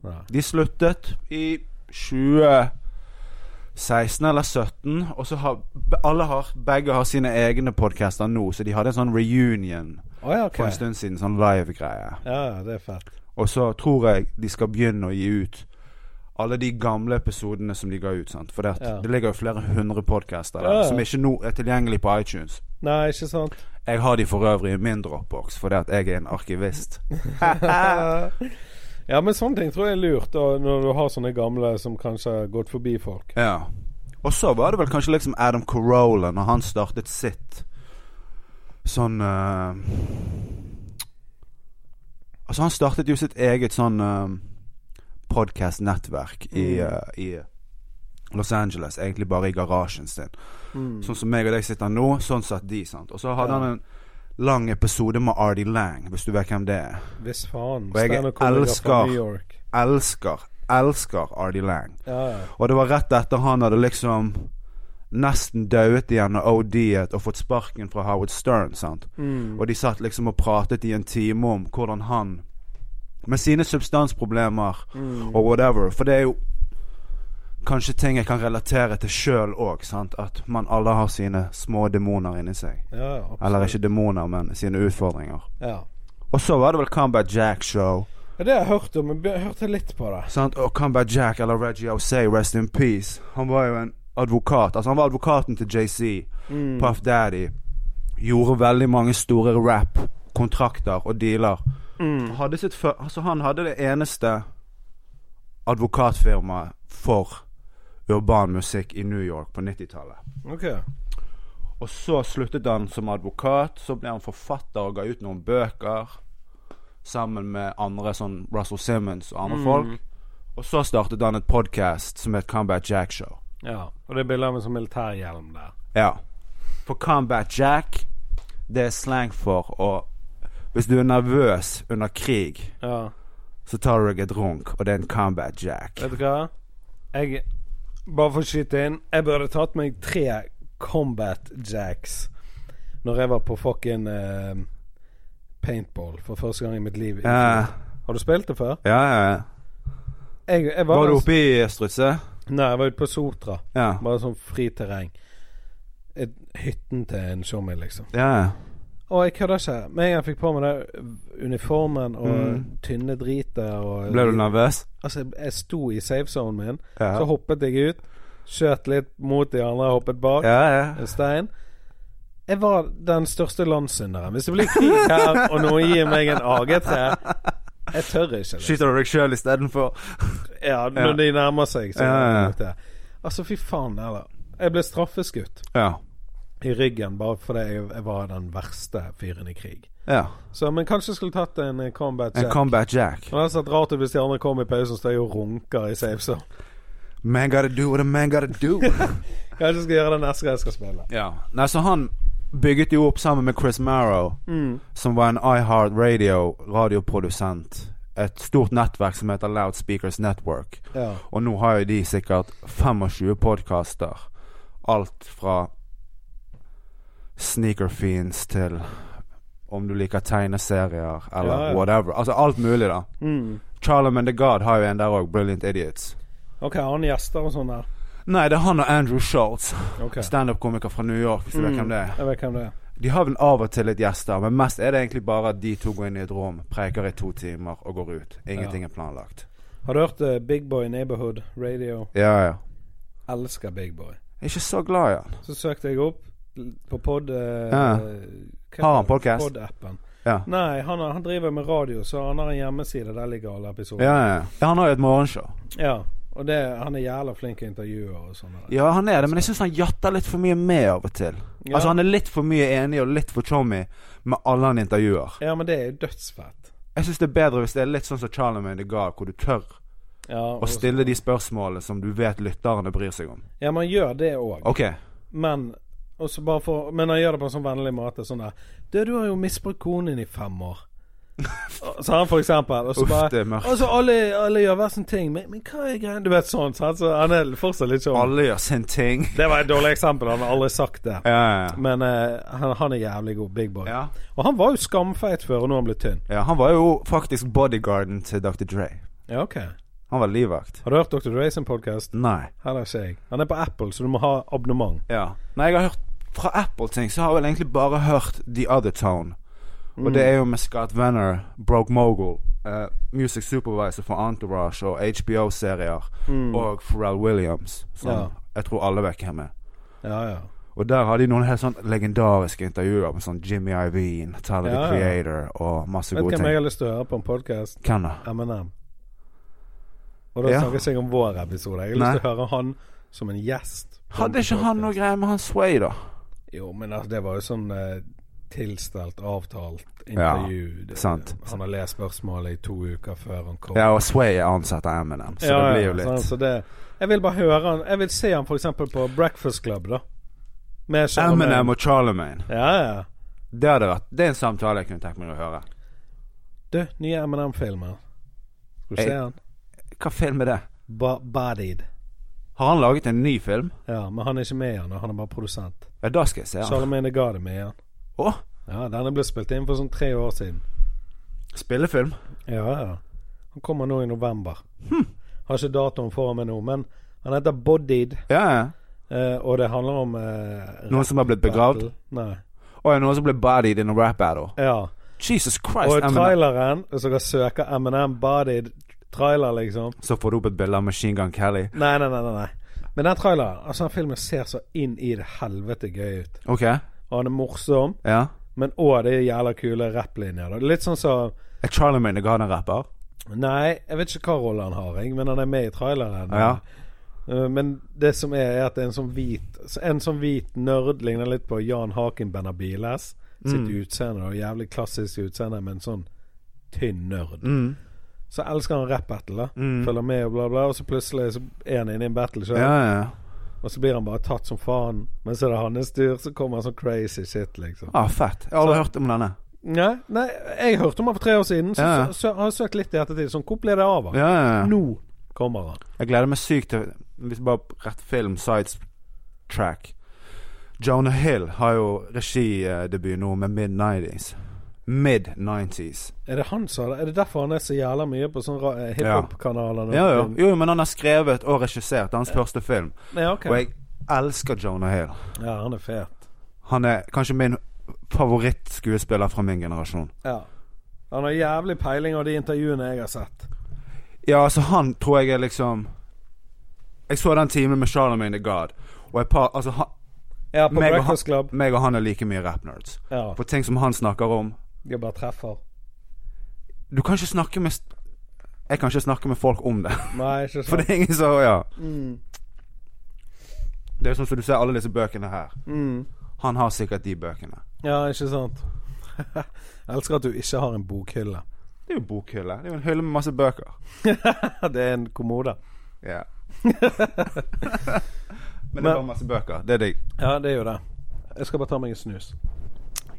Speaker 1: Nei.
Speaker 2: De sluttet i 2016 eller 17 Og så har alle har, begge har sine egne podcaster nå, så de hadde en sånn reunion
Speaker 1: Å ja, ok.
Speaker 2: for en stund siden. Sånn live-greie.
Speaker 1: Ja, ja, det er fett.
Speaker 2: Og så tror jeg de skal begynne å gi ut alle de gamle episodene som de ga ut. Sant? For det, at
Speaker 1: Ja.
Speaker 2: det ligger jo flere hundre podcaster
Speaker 1: Ja,
Speaker 2: der
Speaker 1: ja.
Speaker 2: som ikke nå er tilgjengelig på iTunes.
Speaker 1: Nei, ikke *laughs* sant?
Speaker 2: Jeg har de for øvrig i min dropbox, fordi at jeg er en arkivist.
Speaker 1: ja, men sånne ting tror jeg er lurt, og når du har sånne gamle som kanskje har gått forbi folk.
Speaker 2: Ja. Og så var det vel kanskje liksom Adam Carolla når han startet sitt sånn eh, Altså, han startet jo sitt eget sånn uh, podkast-nettverk i,
Speaker 1: Mm.
Speaker 2: eh, i Los Angeles, egentlig bare i garasjen sin.
Speaker 1: Mm.
Speaker 2: Sånn som meg og deg sitter nå, sånn satt de, sant. Og så hadde
Speaker 1: Ja.
Speaker 2: han en lang episode med Artie Lang, hvis du vet hvem det er.
Speaker 1: Hvis faen.
Speaker 2: Og jeg
Speaker 1: Standup-komiker fra
Speaker 2: elsker-
Speaker 1: New York.
Speaker 2: Elsker, elsker Artie Lang.
Speaker 1: Ja, ja.
Speaker 2: Og det var rett etter han hadde liksom nesten dauet igjen og OD-et og fått sparken fra Howard Stern, sant.
Speaker 1: Mm.
Speaker 2: Og de satt liksom og pratet i en time om hvordan han Med sine substansproblemer
Speaker 1: Mm.
Speaker 2: og whatever. For det er jo kanskje ting jeg kan relatere til sjøl òg, sant. At man alle har sine små demoner inni seg.
Speaker 1: Ja, ja, absolutt.
Speaker 2: Eller ikke demoner, men sine utfordringer.
Speaker 1: Ja.
Speaker 2: Og så var det vel Combat Jack Show.
Speaker 1: ja. Det har jeg hørt om. Jeg be- hørte litt på det.
Speaker 2: Sant? Og Combat Jack, eller Reggie Osei, rest in peace. Han var jo en advokat. Altså, han var advokaten til JC.
Speaker 1: Mm.
Speaker 2: Puff Daddy. Gjorde veldig mange store rap-kontrakter og dealer.
Speaker 1: Mm.
Speaker 2: Han Hadde sitt fø- altså, han hadde det eneste advokatfirmaet for urban musikk i New York på 90-tallet.
Speaker 1: Ok.
Speaker 2: Og så sluttet han som advokat, så ble han forfatter og ga ut noen bøker sammen med andre, sånn Russell Simmons og andre
Speaker 1: Mm.
Speaker 2: folk. Og så startet han et podkast som het Combat Jack Show.
Speaker 1: Ja. Og det er bilde av en sånn militærhjelm der.
Speaker 2: Ja. For Combat Jack, det er slang for å Hvis du er nervøs under krig,
Speaker 1: Ja.
Speaker 2: så tar du deg et runk, og det er en Combat Jack.
Speaker 1: Vet du hva? Jeg Bare for å skyte inn. Jeg burde tatt meg tre Combat Jacks når jeg var på fucking eh, paintball for første gang i mitt liv.
Speaker 2: Ja,
Speaker 1: Har du spilt det før?
Speaker 2: ja, ja.
Speaker 1: Jeg, jeg var,
Speaker 2: Var du oppe i strutse?
Speaker 1: Nei, jeg var ute på Sotra.
Speaker 2: Ja.
Speaker 1: Bare sånn friterreng. Et- Hytten til en showman, liksom.
Speaker 2: Ja, ja.
Speaker 1: Og jeg kødder ikke. Med en gang jeg fikk på meg det uniformen og
Speaker 2: Mm.
Speaker 1: tynne dritet og
Speaker 2: Ble du nervøs?
Speaker 1: Altså, jeg sto i safezonen min.
Speaker 2: Ja.
Speaker 1: Så hoppet jeg ut, skjøt litt mot de andre, hoppet bak
Speaker 2: Ja, ja.
Speaker 1: en stein. Jeg var den største landssynderen. Hvis
Speaker 2: *laughs*
Speaker 1: det blir krig her, og noen gir meg en AG3 Jeg tør ikke. Liksom.
Speaker 2: Skyter du deg sjøl istedenfor?
Speaker 1: Ja, når
Speaker 2: Ja.
Speaker 1: de nærmer seg, så
Speaker 2: Ja, ja, ja.
Speaker 1: gjør jeg det. Altså, fy faen. Eller. Jeg ble straffeskutt
Speaker 2: Ja.
Speaker 1: i ryggen bare fordi jeg, jeg var den verste fyren i krig.
Speaker 2: ja.
Speaker 1: Så, men kanskje jeg skulle tatt en eh, combat
Speaker 2: En
Speaker 1: jack.
Speaker 2: Combat Jack.
Speaker 1: Men det hadde sett rart ut hvis de andre kom i pausen og står jeg og runker i safe zone.
Speaker 2: Man gotta do what a man gotta
Speaker 1: *laughs*
Speaker 2: do.
Speaker 1: Kanskje jeg skal gjøre det neste gang jeg skal spille.
Speaker 2: ja. Nei, så han bygget jo opp sammen med Chris Marrow,
Speaker 1: Mm.
Speaker 2: som var en iHeart Radio radioprodusent. Et stort nettverk som heter Loudspeakers Network.
Speaker 1: Ja.
Speaker 2: Og nå har jo de sikkert 25 podkaster. Alt fra Sneaker Fiends til om du liker tegneserier eller
Speaker 1: Ja, ja.
Speaker 2: whatever. Altså alt mulig, da.
Speaker 1: Mm.
Speaker 2: Charlamagne the God har jo en der òg, Brilliant Idiots.
Speaker 1: Ok, har han gjester og sånn der?
Speaker 2: Nei, det er han og Andrew Schultz.
Speaker 1: Ok.
Speaker 2: Standup-komiker fra New York, hvis du vet hvem det er.
Speaker 1: Jeg vet hvem det er.
Speaker 2: De har vel av og til litt gjester, men mest er det egentlig bare at de to går inn i et rom, preker i to timer og går ut. Ingenting er planlagt.
Speaker 1: Har du hørt eh, Big Boy Neighborhood Radio?
Speaker 2: Ja, ja.
Speaker 1: Elsker Big Boy.
Speaker 2: Jeg er ikke så glad i han.
Speaker 1: Så søkte jeg opp l- på pod... eh,
Speaker 2: Ja.
Speaker 1: hva
Speaker 2: Har han
Speaker 1: heter det?
Speaker 2: podcast?
Speaker 1: Pod-appen.
Speaker 2: Ja.
Speaker 1: Nei, han, har- han driver med radio, så han har en hjemmeside. Der ligger alle episoder.
Speaker 2: Ja, ja. ja han har jo et morgenshow.
Speaker 1: Ja, og det, han er jævla flink til intervjuer og sånn. der.
Speaker 2: Ja, han er det, men jeg syns han jatter litt for mye med av og til.
Speaker 1: Ja.
Speaker 2: Altså, han er litt for mye enig og litt for chommy med alle han intervjuer.
Speaker 1: ja, men det er jo dødsfett.
Speaker 2: Jeg syns det er bedre hvis det er litt sånn som Charlamagne the God, hvor du tør
Speaker 1: Ja, og-
Speaker 2: å stille de spørsmålene som du vet lytterne bryr seg om.
Speaker 1: ja man gjør det òg,
Speaker 2: Ok.
Speaker 1: men og
Speaker 2: *laughs*
Speaker 1: så bare for, men han gjør det på en sånn vennlig måte. Sånn der Du, du har jo misbrukt konen din i fem år. Så han for eksempel. Og så
Speaker 2: Uff,
Speaker 1: bare
Speaker 2: det er mørkt.
Speaker 1: Og så alle, alle gjør hver sin ting. Men, men hva er greia? Du vet sånn, sant? Så han er fortsatt litt sånn.
Speaker 2: Alle gjør sin ting.
Speaker 1: Det var et dårlig eksempel. Han har aldri sagt det.
Speaker 2: Ja, ja, ja.
Speaker 1: Men eh, han, han er jævlig god. Big boy.
Speaker 2: ja.
Speaker 1: Og han var jo skamfeit før, og nå er han blitt tynn.
Speaker 2: ja. Han var jo faktisk bodyguarden til Dr. Dre.
Speaker 1: Ja, ok.
Speaker 2: Han var livvakt.
Speaker 1: Har du hørt Dr. Dre sin podkast?
Speaker 2: Nei.
Speaker 1: Heller ikke jeg. Han er på Apple, så du må ha abonnement.
Speaker 2: Ja. Nei, jeg har hørt fra Apple-ting, så har jeg vel egentlig bare hørt The Other Town. Og det er jo med Scott Venner, Broke Mogul, eh, music supervisor for Entourage og HBO-serier, og Pharrell Williams, som
Speaker 1: Ja.
Speaker 2: jeg tror alle vet hvem er.
Speaker 1: Ja, ja.
Speaker 2: Og der har de noen helt sånn legendariske intervjuer med sånn Jimmy Iveen, Tyler
Speaker 1: Ja, ja.
Speaker 2: the Creator og masse
Speaker 1: Vet du
Speaker 2: gode
Speaker 1: hvem jeg
Speaker 2: ting.
Speaker 1: har lyst til å høre på en podkast?
Speaker 2: Hvem da?
Speaker 1: M&M. Og da
Speaker 2: Ja.
Speaker 1: snakker jeg ikke om vår episode. Jeg har
Speaker 2: Nei.
Speaker 1: lyst til å høre han som en gjest. på en
Speaker 2: Hadde ikke han noe
Speaker 1: podcast.
Speaker 2: greier med han Sway, da?
Speaker 1: Jo, men altså, det var jo sånn eh, tilstelt, avtalt intervju. det,
Speaker 2: sant.
Speaker 1: Han har lest spørsmålet i to uker før han kom.
Speaker 2: Ja, og Sway er ansatt av Eminem, så det blir jo litt
Speaker 1: sant, så det, jeg vil bare høre han Jeg vil se han f.eks. på Breakfast Club, da. Med Charlamagne.
Speaker 2: Eminem og Charlemagne.
Speaker 1: Ja, ja.
Speaker 2: Det hadde vært Det er en samtale jeg kunne tenkt meg å høre.
Speaker 1: Du, nye Eminem-filmer. Skal du
Speaker 2: Jeg-
Speaker 1: se han?
Speaker 2: Hva film er det?
Speaker 1: Ba Bodied.
Speaker 2: Har han laget en ny film?
Speaker 1: Ja, men han er ikke med i han, og han er bare produsent.
Speaker 2: Ja, da skal jeg se han.
Speaker 1: Charlamagne ga det med i han.
Speaker 2: Å,
Speaker 1: Ja, denne ble spilt inn for sånn tre år siden.
Speaker 2: spillefilm?
Speaker 1: Ja, ja. Han kommer nå i november.
Speaker 2: Hm.
Speaker 1: Har ikke datoen foran meg nå, men han heter Bodied,
Speaker 2: Ja, ja.
Speaker 1: eh, og det handler om eh,
Speaker 2: Noen som har blitt begravd?
Speaker 1: battle. Nei.
Speaker 2: Å, ja, noen som ble bodied in a rap battle?
Speaker 1: Ja.
Speaker 2: Jesus Christ,
Speaker 1: Og
Speaker 2: Eminem.
Speaker 1: traileren, hvis dere søker M&M Bodied trailer, liksom
Speaker 2: Så får du opp et bilde av Machine Gun Kelly.
Speaker 1: Nei, nei, nei. nei, nei. Men den traileren, altså den filmen ser så inn i det helvete gøy ut.
Speaker 2: Ok,
Speaker 1: Og han er morsom,
Speaker 2: ja.
Speaker 1: men òg det er jævla kule rapplinjer. da. Det er Litt sånn som
Speaker 2: Er Charlemagne Garden rapper?
Speaker 1: Nei, jeg vet ikke hva rolle han har, jeg, men han er med i traileren.
Speaker 2: Ja.
Speaker 1: Eh, Men det som er, er at det er en sånn hvit En sånn hvit nerd ligner litt på Jan Haken Benabiles
Speaker 2: Mm.
Speaker 1: sitt utseende. Og jævlig klassisk utseende, men sånn tynn nerd.
Speaker 2: Mm.
Speaker 1: Så elsker han rap-battle. da. Følger med og bla, bla. Og så plutselig så er han inne i en battle
Speaker 2: Ja,
Speaker 1: sjøl.
Speaker 2: ja. ja.
Speaker 1: Og så blir han bare tatt som faen. Men så er det hans tur, så kommer sånn crazy shit, liksom.
Speaker 2: Ah, fett. Jeg har aldri hørt om denne.
Speaker 1: Nei, nei jeg hørte om han for tre år siden, så,
Speaker 2: Ja.
Speaker 1: så, så har jeg søkt litt i ettertid. Sånn, hvor ble det av han?
Speaker 2: Ja, ja, ja.
Speaker 1: Nå kommer han.
Speaker 2: Jeg gleder meg sykt til Hvis bare rett film, sides track. Jonah Hill har jo regidebut nå med mid-90s. Mid-90s.
Speaker 1: Er det han som Er det derfor han er så jævla mye på sånne eh, hiphop-kanaler? nå? Mm.
Speaker 2: Ja, jo. jo, men han har skrevet og regissert hans første film.
Speaker 1: Nei, ok.
Speaker 2: Og jeg elsker Jonah Hill.
Speaker 1: Ja, han er fet.
Speaker 2: Han er kanskje min favorittskuespiller fra min generasjon.
Speaker 1: Ja. Han har jævlig peiling av de intervjuene jeg har sett.
Speaker 2: Ja, altså han tror jeg er liksom Jeg så den timen med Charlamagne the God, og et par Altså, han,
Speaker 1: Ja, på
Speaker 2: meg, og
Speaker 1: Breakfast
Speaker 2: han,
Speaker 1: Club.
Speaker 2: meg og han er like mye rap-nerds.
Speaker 1: Ja.
Speaker 2: For ting som han snakker om
Speaker 1: Jeg bare treffer.
Speaker 2: Du kan ikke snakke med st- Jeg kan ikke snakke med folk om det. *laughs*
Speaker 1: Nei,
Speaker 2: For
Speaker 1: ikke sant.
Speaker 2: det er ingen som Ja.
Speaker 1: Mm.
Speaker 2: Det er sånn som du ser alle disse bøkene her.
Speaker 1: Mm.
Speaker 2: Han har sikkert de bøkene.
Speaker 1: Ja, ikke sant. *laughs* jeg elsker at du ikke har en bokhylle.
Speaker 2: Det er jo bokhylle. Det er jo en hylle med masse bøker.
Speaker 1: *laughs* det er en kommode.
Speaker 2: *laughs* Ja. Men det
Speaker 1: Men-
Speaker 2: er bare masse bøker. Det er digg.
Speaker 1: Ja, det er jo det. Jeg skal bare ta meg en snus.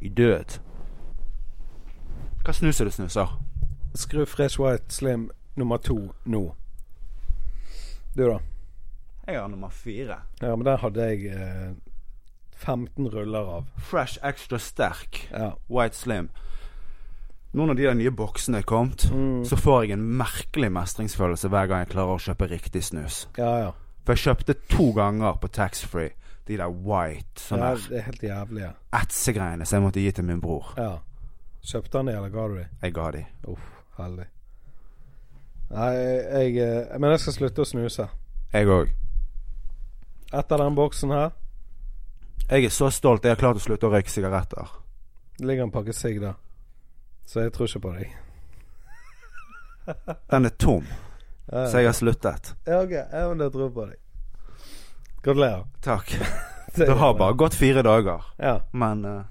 Speaker 2: I død. Hva snuser du snuser?
Speaker 1: Skru Fresh White Slim nummer to nå. Du, da?
Speaker 2: Jeg har nummer fire.
Speaker 1: Ja, men der hadde jeg eh, 15 ruller av.
Speaker 2: Fresh Extra Sterk.
Speaker 1: Ja.
Speaker 2: White Slim. Nå når de der nye boksene er kommet,
Speaker 1: Mm.
Speaker 2: så får jeg en merkelig mestringsfølelse hver gang jeg klarer å kjøpe riktig snus.
Speaker 1: Ja, ja.
Speaker 2: For jeg kjøpte to ganger på taxfree de der white sånne
Speaker 1: ja
Speaker 2: der
Speaker 1: det er helt jævlig. Ja.
Speaker 2: etsegreiene som jeg måtte gi til min bror.
Speaker 1: ja. Kjøpte han de, eller ga du de?
Speaker 2: Jeg ga de.
Speaker 1: Uff, heldig. Nei, jeg eh, Men jeg skal slutte å snuse.
Speaker 2: Jeg òg.
Speaker 1: Etter den boksen her
Speaker 2: Jeg er så stolt. Jeg har klart å slutte å røyke sigaretter.
Speaker 1: Det ligger en pakke sigg der. Så jeg tror ikke på deg.
Speaker 2: Den er tom,
Speaker 1: Ja,
Speaker 2: så jeg har sluttet.
Speaker 1: ja, ok. Ja, men jeg tror på deg. Gratulerer.
Speaker 2: Takk.
Speaker 1: *laughs* Det
Speaker 2: Det har bare gått fire dager.
Speaker 1: Ja.
Speaker 2: Men eh,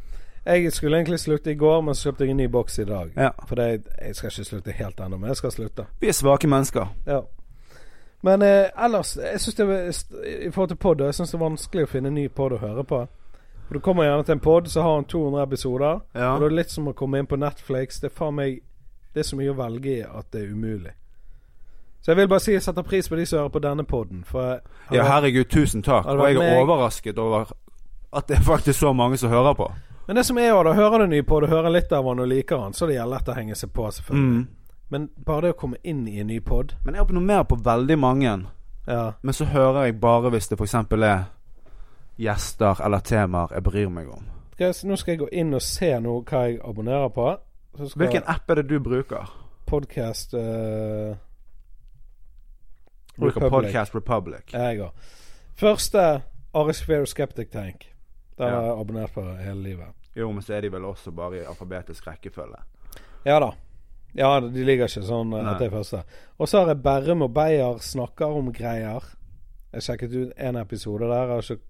Speaker 1: Jeg skulle egentlig slutte i går, men så kjøpte jeg en ny boks i dag.
Speaker 2: ja.
Speaker 1: For det, jeg skal ikke slutte helt ennå, men jeg skal slutte.
Speaker 2: Vi er svake mennesker.
Speaker 1: Ja. Men eh, ellers, jeg synes det var- i forhold til pod, jeg syns det er vanskelig å finne en ny pod å høre på. For Du kommer gjerne til en pod som har han 200 episoder.
Speaker 2: Ja.
Speaker 1: Og det er litt som å komme inn på Netflix. Det er faen meg Det er så mye å velge i at det er umulig. Så jeg vil bare si jeg setter pris på de som hører på denne poden, for jeg-
Speaker 2: Ja, herregud, tusen takk.
Speaker 1: Har det
Speaker 2: Og jeg
Speaker 1: vært
Speaker 2: er
Speaker 1: meg-
Speaker 2: overrasket over at det er faktisk så mange som hører på.
Speaker 1: Men det som er òg, da hører du ny pod og hører litt av han og liker han, så det gjelder lett å henge seg på, selvfølgelig.
Speaker 2: Mm.
Speaker 1: Men bare det å komme inn i en ny pod
Speaker 2: Men jeg abonnerer på veldig mange.
Speaker 1: ja.
Speaker 2: Men så hører jeg bare hvis det f.eks. er gjester eller temaer jeg bryr meg om.
Speaker 1: Skal jeg- Nå skal jeg gå inn og se nå hva jeg abonnerer på. Så skal
Speaker 2: Hvilken app er det du bruker?
Speaker 1: podcast eh,
Speaker 2: Bruker
Speaker 1: Republic.
Speaker 2: Podcast Republic.
Speaker 1: Jeg òg. Første Ari Sphere Skeptic Tank. Den
Speaker 2: Ja.
Speaker 1: har jeg abonnert på hele livet.
Speaker 2: Jo, men så er de vel også bare i alfabetisk rekkefølge.
Speaker 1: Ja da. Ja, de ligger ikke sånn eh,
Speaker 2: Nei.
Speaker 1: etter det første. Og så har jeg Berrum og Beyer snakker om greier. Jeg sjekket ut en episode der. Jeg har ikke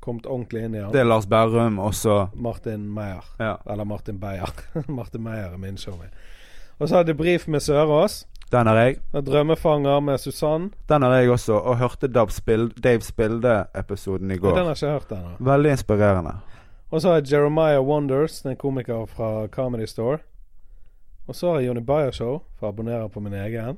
Speaker 1: kommet ordentlig inn i den.
Speaker 2: Det er Lars Berrum, og så
Speaker 1: Martin Meyer.
Speaker 2: Ja.
Speaker 1: Eller Martin Beyer. *laughs* Martin Meyer er min showman. Og så har jeg Debrif med Sørås.
Speaker 2: Den har jeg.
Speaker 1: Og Drømmefanger med Susann.
Speaker 2: Den har jeg også, og hørte Dave Spil- Dave Spilde-episoden i
Speaker 1: Den har
Speaker 2: går.
Speaker 1: jeg ikke hørt ennå.
Speaker 2: Veldig inspirerende.
Speaker 1: Og så har jeg Jeremiah Wonders, en komiker fra Comedy Store. Og så har jeg Jonny Bayer Show, for å abonnere på min egen.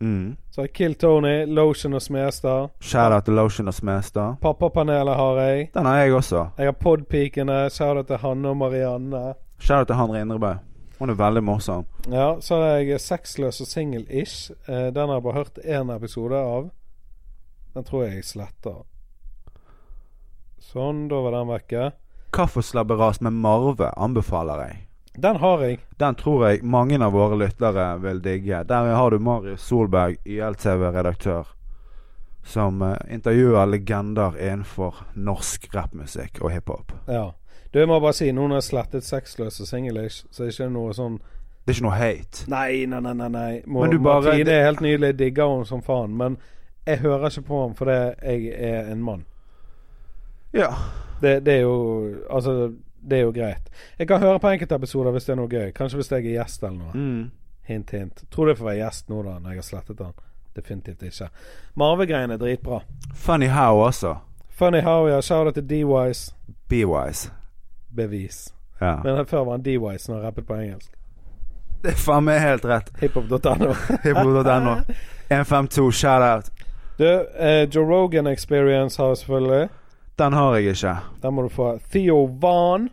Speaker 2: Mm.
Speaker 1: Så har jeg Kill Tony, Lotion og Smestad.
Speaker 2: Shout-out til Lotion og Smestad.
Speaker 1: Pappapanelet har jeg.
Speaker 2: Den har jeg også.
Speaker 1: Jeg har Podpikene. Shout-out til Hanne og Marianne.
Speaker 2: Shout-out til Hanre Indrebø. Hun er veldig morsom.
Speaker 1: Ja, så har jeg Sexløs og Single-ish. Eh, Den har jeg bare hørt én episode av. Den tror jeg jeg sletter. Sånn, da var den vekke.
Speaker 2: Kaffeslabberas med Marve anbefaler jeg.
Speaker 1: Den har jeg.
Speaker 2: Den tror jeg mange av våre lyttere vil digge. Der har du Marius Solberg, YLTV-redaktør, som eh, intervjuer legender innenfor norsk rappmusikk og hiphop.
Speaker 1: Ja. Du, jeg må bare si, nå når jeg slettet Sexløs og Single-ish, så er det ikke noe sånn
Speaker 2: Det er ikke noe hate.
Speaker 1: Nei, nei, nei, nei, nei. Må,
Speaker 2: Men du bare-
Speaker 1: Martine er *laughs* helt nydelig, jeg digger henne som faen. Men jeg hører ikke på ham fordi jeg er en mann.
Speaker 2: Ja.
Speaker 1: Det, det er jo Altså, det er jo greit. Jeg kan høre på enkeltepisoder hvis det er noe gøy. Kanskje hvis jeg er gjest eller noe.
Speaker 2: Mm.
Speaker 1: Hint, hint. Tror du jeg får være gjest nå, da, når jeg har slettet den? Definitivt ikke. Marve-greien er dritbra.
Speaker 2: Funny How også.
Speaker 1: Funny Howie har shouta til D-Wise.
Speaker 2: Be wise.
Speaker 1: Bevis.
Speaker 2: Ja.
Speaker 1: Men før var han D-Wise når han rappet på engelsk.
Speaker 2: Det er faen meg helt rett.
Speaker 1: Hiphop.no. *laughs*
Speaker 2: Hiphop.no. 152, shout-out.
Speaker 1: Du, eh, Joe Rogan Experience har jeg selvfølgelig.
Speaker 2: Den har jeg ikke.
Speaker 1: Der må du få Theo Van,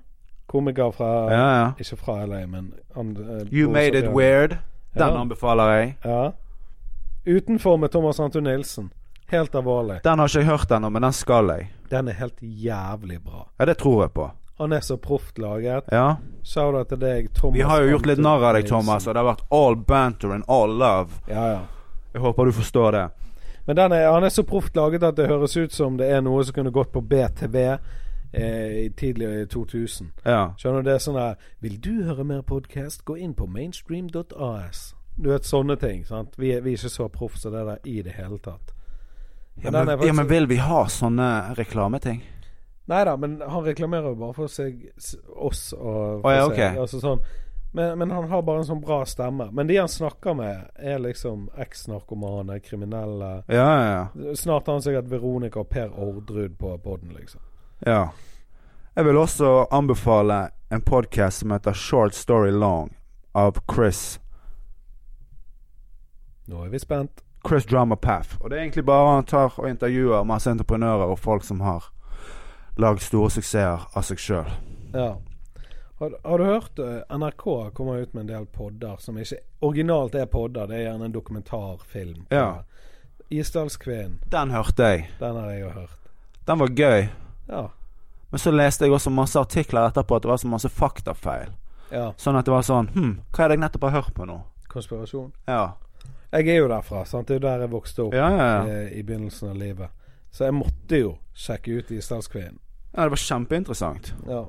Speaker 1: komiker fra
Speaker 2: Ja, ja.
Speaker 1: Ikke fra LA, men han, eh,
Speaker 2: You
Speaker 1: bor
Speaker 2: Made It
Speaker 1: også-
Speaker 2: Weird. Den
Speaker 1: Ja.
Speaker 2: anbefaler jeg.
Speaker 1: Ja. Utenfor med Thomas Anton Nilsen. Helt alvorlig.
Speaker 2: Den har ikke jeg hørt ennå, men den skal jeg.
Speaker 1: Den er helt jævlig bra.
Speaker 2: Ja, det tror jeg på.
Speaker 1: Han er så proft laget.
Speaker 2: Ja.
Speaker 1: Shout-out til deg, Thomas.
Speaker 2: Vi har jo gjort litt
Speaker 1: Anton
Speaker 2: narr av deg,
Speaker 1: Nilsen.
Speaker 2: Thomas, og det har vært all banter and all love.
Speaker 1: Ja, ja.
Speaker 2: Jeg håper du forstår det.
Speaker 1: Men den er, han er så proft laget at det høres ut som det er noe som kunne gått på BTV eh, i tidlig i 2000.
Speaker 2: Ja.
Speaker 1: Skjønner du, det er sånn der Vil du høre mer podkast, gå inn på mainstream.as. Du vet sånne ting. sant? Vi er, vi er ikke så proff som det der i det hele tatt.
Speaker 2: Ja,
Speaker 1: den
Speaker 2: men,
Speaker 1: er faktisk-
Speaker 2: ja, men vil vi ha sånne reklameting?
Speaker 1: Nei da, men han reklamerer jo bare for seg s- oss og for
Speaker 2: Å, ja,
Speaker 1: seg,
Speaker 2: ok.
Speaker 1: altså sånn. men, men han har bare en sånn bra stemme. Men de han snakker med, er liksom eks-narkomane, kriminelle
Speaker 2: Ja, ja,
Speaker 1: Snart har han sikkert Veronica og Per Ordrud på poden, liksom.
Speaker 2: ja. ja. Jeg vil også anbefale en podkast som heter Short Story Long, av Chris
Speaker 1: Nå er vi spent.
Speaker 2: Chris Drama Path. Og det er egentlig bare han tar og intervjuer masse entreprenører og folk som har lagd store suksesser av seg sjøl.
Speaker 1: Ja. Har, har du hørt eh, NRK kommer ut med en del podder som ikke originalt er podder, det er gjerne en dokumentarfilm.
Speaker 2: Ja.
Speaker 1: Isdalskvinnen,
Speaker 2: Den hørte jeg.
Speaker 1: den har jeg jo hørt.
Speaker 2: Den var gøy.
Speaker 1: Ja.
Speaker 2: Men så leste jeg også masse artikler etterpå at det var så masse faktafeil.
Speaker 1: ja.
Speaker 2: Sånn at det var sånn Hm, hva er det jeg nettopp har hørt på nå?
Speaker 1: Konspirasjon.
Speaker 2: Ja.
Speaker 1: Jeg er jo derfra, sant. Det er jo der jeg vokste opp
Speaker 2: Ja, ja, ja.
Speaker 1: eh, i begynnelsen av livet. Så jeg måtte jo sjekke ut Isdalskvinnen.
Speaker 2: ja det var kjempeinteressant.
Speaker 1: Ja.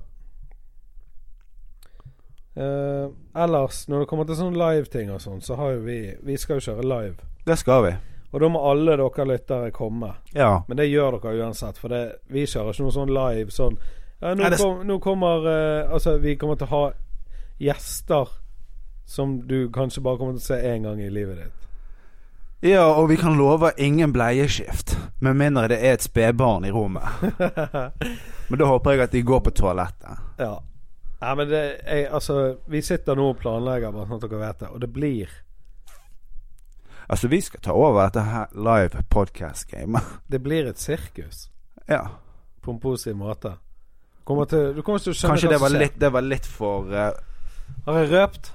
Speaker 1: Eh, ellers, når det kommer til sånne live-ting og sånn, så har jo vi Vi skal jo kjøre live.
Speaker 2: Det skal vi.
Speaker 1: Og da må alle dere lyttere komme.
Speaker 2: Ja.
Speaker 1: Men det gjør dere uansett, for det, vi kjører ikke noe sånn live sånn ja, nå,
Speaker 2: Nei, det-
Speaker 1: kom, nå kommer eh, Altså, vi kommer til å ha gjester som du kanskje bare kommer til å se én gang i livet ditt.
Speaker 2: Ja, og vi kan love ingen bleieskift. Med mindre det er et *laughs* spedbarn i rommet. Men da håper jeg at de går på toalettet.
Speaker 1: Ja. Nei, men det jeg, Altså, vi sitter nå og planlegger, bare sånn at dere vet det, og det blir
Speaker 2: Altså, vi skal ta over dette her live podcast-gamet.
Speaker 1: Det blir et sirkus
Speaker 2: Ja.
Speaker 1: på en positiv måte. Kommer til, du kommer til å skjønne
Speaker 2: Kanskje det
Speaker 1: hva
Speaker 2: var
Speaker 1: som skjer.
Speaker 2: litt, det var litt for eh,
Speaker 1: Har jeg røpt?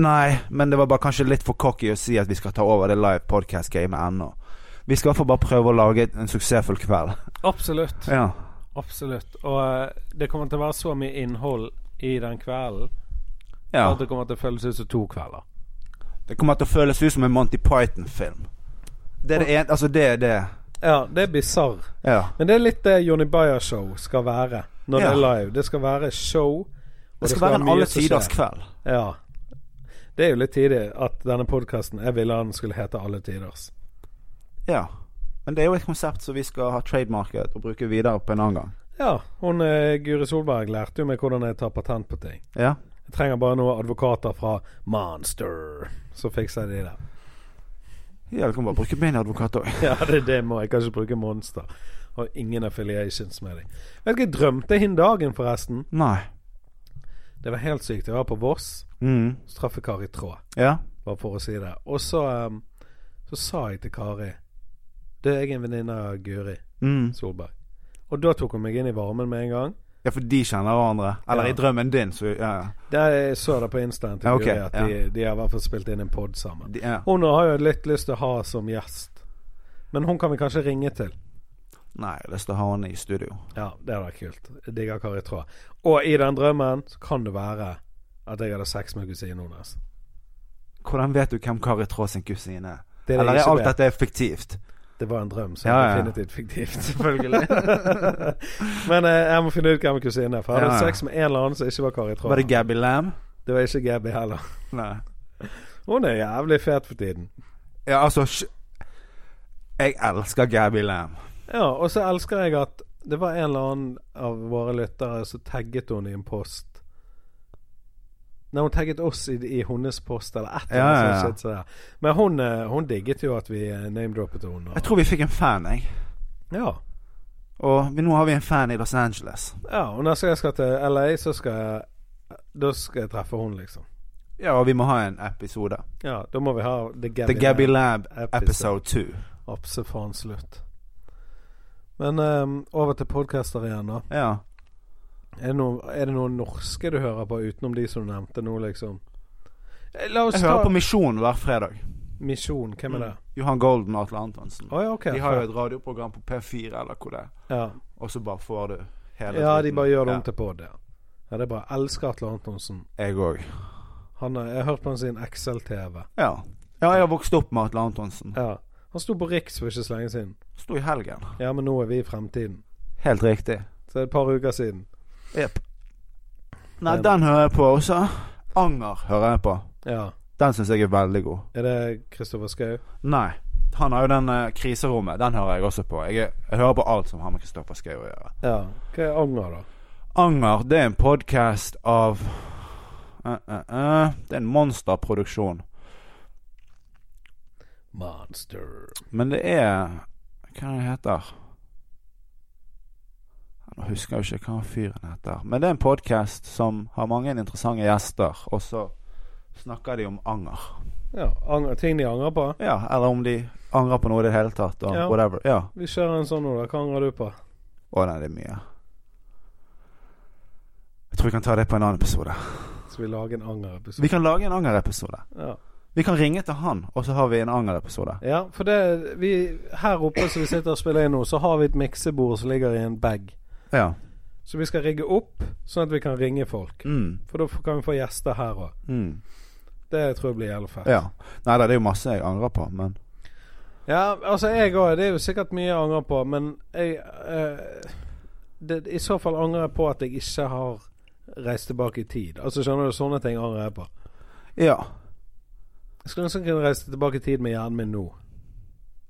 Speaker 2: Nei, men det var bare kanskje litt for cocky å si at vi skal ta over det live podcast-gamet ennå. Vi skal i hvert fall bare prøve å lage en suksessfull kveld.
Speaker 1: Absolutt.
Speaker 2: Ja.
Speaker 1: Absolutt. Og eh, det kommer til å være så mye innhold i den kvelden
Speaker 2: ja.
Speaker 1: at det kommer til å føles ut som to kvelder.
Speaker 2: Det kommer til å føles ut som en Monty Python-film. Det er det ene Altså, det er det.
Speaker 1: Ja, det er bisarr.
Speaker 2: Ja.
Speaker 1: Men det er litt det Johnny Bayer-show skal være
Speaker 2: Ja.
Speaker 1: når det er live. Det skal være show. og
Speaker 2: Det skal være en
Speaker 1: mye
Speaker 2: alle
Speaker 1: som
Speaker 2: tiders
Speaker 1: skjer.
Speaker 2: kveld.
Speaker 1: Ja. Det er jo litt tidlig at denne podkasten Jeg ville den skulle hete Alle tiders.
Speaker 2: Ja. Men det er jo et konsept som vi skal ha trademarket og bruke videre på en annen gang.
Speaker 1: Ja. Hun eh, Guri Solberg lærte jo meg hvordan jeg tar patent på ting.
Speaker 2: Ja.
Speaker 1: Jeg trenger bare noen advokater fra Monster, så fikser jeg de der. *laughs*
Speaker 2: Ja, vi kan bare bruke min advokat òg.
Speaker 1: Ja, det, det må jeg kanskje bruke Monster. Har ingen affiliations med dem. Vet du hva jeg drømte hin dagen, forresten?
Speaker 2: Nei.
Speaker 1: Det var helt sykt. Jeg var på Voss,
Speaker 2: Mm.
Speaker 1: så traff jeg Kari Tråd,
Speaker 2: Ja.
Speaker 1: bare for å si det. Og så, ehm, så sa jeg til Kari Du, jeg er en venninne av Guri
Speaker 2: Mm.
Speaker 1: Solberg. Og da tok hun meg inn i varmen med en gang.
Speaker 2: ja, for de kjenner hverandre. Eller
Speaker 1: Ja.
Speaker 2: i drømmen din, så ja. ja.
Speaker 1: Der jeg så det på Instaen til
Speaker 2: Ja, ok,
Speaker 1: Guri at de, de har i hvert fall spilt inn en pod sammen.
Speaker 2: De, ja.
Speaker 1: Hun har jo litt lyst til å ha som gjest, men hun kan vi kanskje ringe til.
Speaker 2: Nei, jeg har lyst til å ha henne i studio.
Speaker 1: Ja, det hadde vært kult. Jeg digger Kari Tråd. Og i den drømmen så kan det være at jeg hadde sex med kusinen hennes.
Speaker 2: Hvordan vet du hvem Kari Traa sin kusine er?
Speaker 1: Det, er det,
Speaker 2: Eller er
Speaker 1: ikke
Speaker 2: alt
Speaker 1: vet.
Speaker 2: dette fiktivt?
Speaker 1: det var en drøm, så
Speaker 2: Ja, ja.
Speaker 1: definitivt fiktivt, selvfølgelig. *laughs* Men eh, jeg må finne ut hvem kusinen er, for jeg hadde
Speaker 2: Ja, ja.
Speaker 1: sex med en eller annen som ikke var Kari Tråd.
Speaker 2: Var det Gabby Lam?
Speaker 1: Det var ikke Gabby heller.
Speaker 2: Nei.
Speaker 1: Hun er jævlig fet for tiden.
Speaker 2: Ja, altså sj- Jeg elsker Gabby Lam.
Speaker 1: Ja, og så elsker jeg at det var en eller annen av våre lyttere som tagget henne i en post. Nei, hun tagget oss i, i hennes post, eller et eller
Speaker 2: Ja,
Speaker 1: annet
Speaker 2: ja, ja.
Speaker 1: sånt. shit, så der. Men hun, eh, hun digget jo at vi eh, name-droppet henne.
Speaker 2: Jeg
Speaker 1: Og,
Speaker 2: tror vi fikk en fan, jeg.
Speaker 1: ja.
Speaker 2: Og vi, nå har vi en fan i Los Angeles.
Speaker 1: ja, og neste gang jeg skal til LA, så skal jeg Da skal jeg treffe henne, liksom.
Speaker 2: Ja, og vi må ha en episode.
Speaker 1: Ja, da må vi ha The Gabby,
Speaker 2: The Gabby Lab
Speaker 1: Episode.
Speaker 2: episode 2.
Speaker 1: Absolutt. Men eh, over til podcaster igjen, da.
Speaker 2: Ja.
Speaker 1: Er det, noen, er det noen norske du hører på utenom de som du nevnte nå, liksom? Eh, La oss
Speaker 2: Jeg
Speaker 1: ta
Speaker 2: hører på Misjon hver fredag.
Speaker 1: Misjon. Hvem er det?
Speaker 2: Johan Golden og Atle Antonsen.
Speaker 1: Å ja, ok.
Speaker 2: De har jo
Speaker 1: fair.
Speaker 2: et radioprogram på P4 eller hvor det er.
Speaker 1: ja.
Speaker 2: Og så bare får du hele
Speaker 1: ja, de
Speaker 2: driten.
Speaker 1: bare gjør det om til pod, ja. ja. Det er bra. Elsker Atle Antonsen.
Speaker 2: Ja, jeg òg.
Speaker 1: Han er, jeg har hørt på han sin Excel-TV.
Speaker 2: Ja. ja, jeg har vokst opp med Atle Antonsen.
Speaker 1: Ja. Han sto på Riks for ikke så lenge siden.
Speaker 2: Sto i helgen.
Speaker 1: Ja, men nå er vi i fremtiden.
Speaker 2: Helt riktig.
Speaker 1: Så det er et par uker siden.
Speaker 2: Jepp. Nei, den hører jeg på også. Anger hører jeg på.
Speaker 1: Ja.
Speaker 2: Den syns jeg er veldig god.
Speaker 1: Er det Kristoffer Schou?
Speaker 2: Nei. Han har jo den eh, kriserommet. Den hører jeg også på. Jeg, er- jeg hører på alt som har med Kristoffer Schou å gjøre.
Speaker 1: Ja. Hva er anger, da?
Speaker 2: Anger, det er en podkast av eh, eh, eh, Det er en monsterproduksjon.
Speaker 1: Monster.
Speaker 2: Men det er Hva er det heter Nå husker jeg jo ikke hva fyren heter. Men det er en podkast som har mange interessante gjester, og så snakker de om anger.
Speaker 1: Ja. Anger, ting de angrer på?
Speaker 2: Ja, eller om de angrer på noe i det hele tatt, og
Speaker 1: Ja.
Speaker 2: whatever. Ja.
Speaker 1: Vi kjører en sånn nå, da. Hva angrer du på?
Speaker 2: Å nei, det er mye. Jeg tror vi kan ta det på en annen episode.
Speaker 1: Skal vi lage en anger-episode?
Speaker 2: Vi kan lage en angerepisode.
Speaker 1: Ja.
Speaker 2: Vi kan ringe til han, og så har vi en angerepisode.
Speaker 1: Ja, for det vi, Her oppe som vi sitter og spiller inn nå, så har vi et miksebord som ligger i en bag.
Speaker 2: Ja.
Speaker 1: Så vi skal rigge opp, sånn at vi kan ringe folk.
Speaker 2: Mm.
Speaker 1: For da f- kan vi få gjester her òg.
Speaker 2: Mm.
Speaker 1: Det tror jeg blir jævlig fett.
Speaker 2: ja. Nei da, det er jo masse jeg angrer på, men
Speaker 1: Ja, altså jeg òg. Det er jo sikkert mye jeg angrer på, men jeg eh, det, I så fall angrer jeg på at jeg ikke har reist tilbake i tid. Altså Skjønner du, sånne ting angrer jeg på.
Speaker 2: Ja.
Speaker 1: Jeg skulle nesten kunne reise tilbake i tid med hjernen min nå.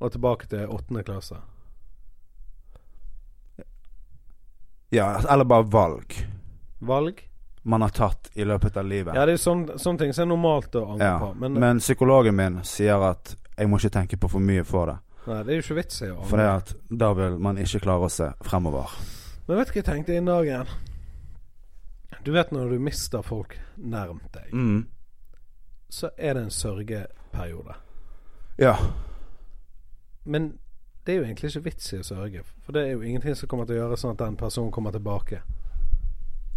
Speaker 1: Og tilbake til åttende klasse.
Speaker 2: ja. Eller bare valg
Speaker 1: Valg?
Speaker 2: man har tatt i løpet av livet.
Speaker 1: Ja, det er jo sånn- sånne ting som er normalt å angre
Speaker 2: Ja.
Speaker 1: på. Men,
Speaker 2: Men, psykologen min sier at jeg må ikke tenke på for mye for det.
Speaker 1: nei, det er jo ikke vits i å
Speaker 2: For det er at da vil man ikke klare å se fremover.
Speaker 1: Men vet du hva jeg tenkte i dag igjen? Du vet når du mister folk nærmt deg,
Speaker 2: Mm.
Speaker 1: så er det en sørgeperiode.
Speaker 2: Ja.
Speaker 1: Men det er jo egentlig ikke vits i å sørge, for det er jo ingenting som kommer til å gjøre sånn at den personen kommer tilbake.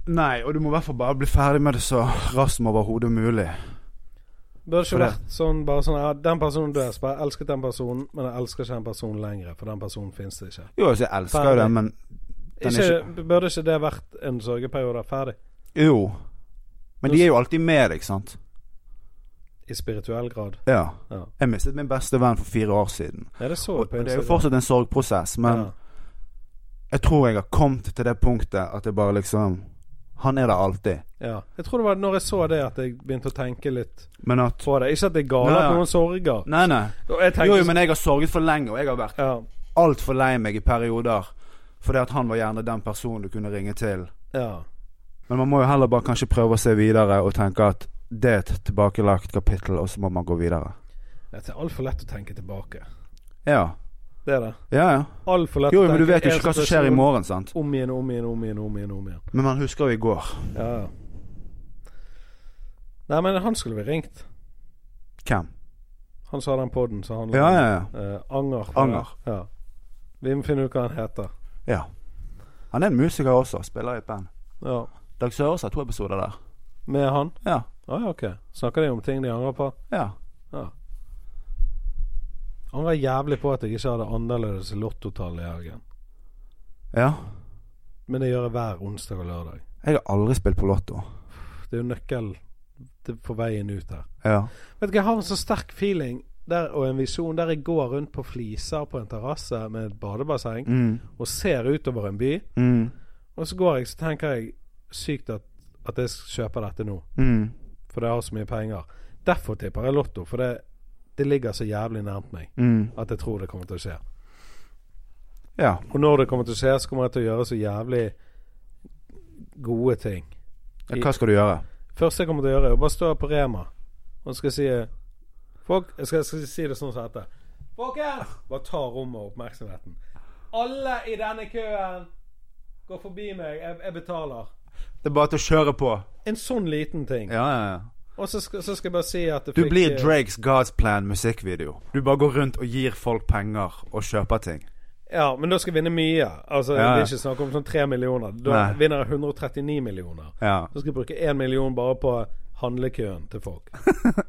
Speaker 2: Nei, og du må i hvert fall bare bli ferdig med det så raskt som overhodet mulig.
Speaker 1: Burde
Speaker 2: For
Speaker 1: ikke
Speaker 2: det-
Speaker 1: vært sånn bare sånn ja, 'Den personen dør, så bare jeg elsket den personen, men jeg elsker ikke den personen lenger', for den personen fins det ikke.
Speaker 2: Jo, altså, jeg elsker jo det, men Den er
Speaker 1: ikke, Burde ikke det vært en sørgeperiode ferdig?
Speaker 2: Jo. Men de er jo alltid med deg, sant?
Speaker 1: I spirituell grad.
Speaker 2: Ja.
Speaker 1: Ja.
Speaker 2: Jeg mistet min beste venn for fire år siden.
Speaker 1: Er det så
Speaker 2: Og
Speaker 1: på
Speaker 2: det er jo
Speaker 1: Instagram?
Speaker 2: fortsatt en sorgprosess, men
Speaker 1: Ja.
Speaker 2: jeg tror jeg har kommet til det punktet at jeg bare liksom Han er der alltid.
Speaker 1: ja. Jeg tror det var når jeg så det, at jeg begynte å tenke litt
Speaker 2: Men at
Speaker 1: på det. Ikke at det er galt
Speaker 2: Nei,
Speaker 1: at
Speaker 2: ja.
Speaker 1: noen sorger.
Speaker 2: Nei, nei.
Speaker 1: Og jeg tenkte
Speaker 2: Jo, jo, men jeg sånn. har sorget for lenge, og jeg har vært
Speaker 1: ja,
Speaker 2: altfor lei meg i perioder. Fordi at han var gjerne den personen du kunne ringe til.
Speaker 1: ja.
Speaker 2: Men man må jo heller bare kanskje prøve å se videre og tenke at det er et tilbakelagt kapittel, og så må man gå videre.
Speaker 1: Det er altfor lett å tenke tilbake.
Speaker 2: Ja.
Speaker 1: Det er det.
Speaker 2: Ja, ja.
Speaker 1: Altfor lett
Speaker 2: Jo,
Speaker 1: å
Speaker 2: jo, men
Speaker 1: tenke
Speaker 2: du vet jo
Speaker 1: en
Speaker 2: ikke hva som skjer i
Speaker 1: situasjon
Speaker 2: morgen, sant?
Speaker 1: Om igjen, om igjen, om igjen, om igjen. om igjen
Speaker 2: Men man husker jo i går.
Speaker 1: Ja, ja. Nei, men han skulle vi ringt.
Speaker 2: Hvem?
Speaker 1: Han sa den podden som handler
Speaker 2: Ja,
Speaker 1: om
Speaker 2: ja, ja.
Speaker 1: eh, anger.
Speaker 2: Anger.
Speaker 1: Ja. Vi må finne ut hva han heter.
Speaker 2: Ja. Han er en musiker også, spiller i et band.
Speaker 1: Ja.
Speaker 2: Dag Sørås har to episoder der.
Speaker 1: Med han?
Speaker 2: Ja.
Speaker 1: Å ja, ok. Snakker de om ting de angrer på?
Speaker 2: Ja.
Speaker 1: Ja. Angrer jævlig på at jeg ikke hadde annerledes lottotall i helgen.
Speaker 2: ja.
Speaker 1: Men det gjør jeg hver onsdag og lørdag.
Speaker 2: Jeg har aldri spilt på Lotto.
Speaker 1: Det er jo nøkkel til- på veien ut her.
Speaker 2: Ja.
Speaker 1: Vet du, hva, Jeg har en så sterk feeling der, og en visjon der jeg går rundt på fliser på en terrasse med et badebasseng
Speaker 2: Mm.
Speaker 1: og ser utover en by.
Speaker 2: Mm.
Speaker 1: Og så går jeg, så tenker jeg sykt at, at jeg skal kjøpe dette nå,
Speaker 2: Mm.
Speaker 1: for jeg har så mye penger. Derfor tipper jeg Lotto, for det, det ligger så jævlig nærmt meg
Speaker 2: Mm.
Speaker 1: at jeg tror det kommer til å skje.
Speaker 2: Ja.
Speaker 1: Og når det kommer til å skje, så kommer jeg til å gjøre så jævlig gode ting.
Speaker 2: ja. Hva skal du gjøre?
Speaker 1: første jeg kommer til å gjøre, er å bare stå på Rema og skal si folk, Jeg skal, skal si det sånn som dette. Folkens! Bare ta rommet og oppmerksomheten. Alle i denne køen går forbi meg. Jeg, jeg betaler.
Speaker 2: Det er bare til å kjøre på.
Speaker 1: En sånn liten ting.
Speaker 2: Ja, ja, ja.
Speaker 1: Og så skal, så skal jeg bare si at det
Speaker 2: Du
Speaker 1: fikk- eh,
Speaker 2: blir Drakes God's Plan musikkvideo. Du bare går rundt og gir folk penger og kjøper ting.
Speaker 1: Ja, men da skal jeg vinne mye. Altså,
Speaker 2: Ja, ja.
Speaker 1: Det er ikke snakk om sånn tre millioner. Da
Speaker 2: Nei.
Speaker 1: vinner jeg 139 millioner.
Speaker 2: Ja.
Speaker 1: Så skal jeg bruke én million bare på handlekøen
Speaker 2: *laughs*
Speaker 1: til folk.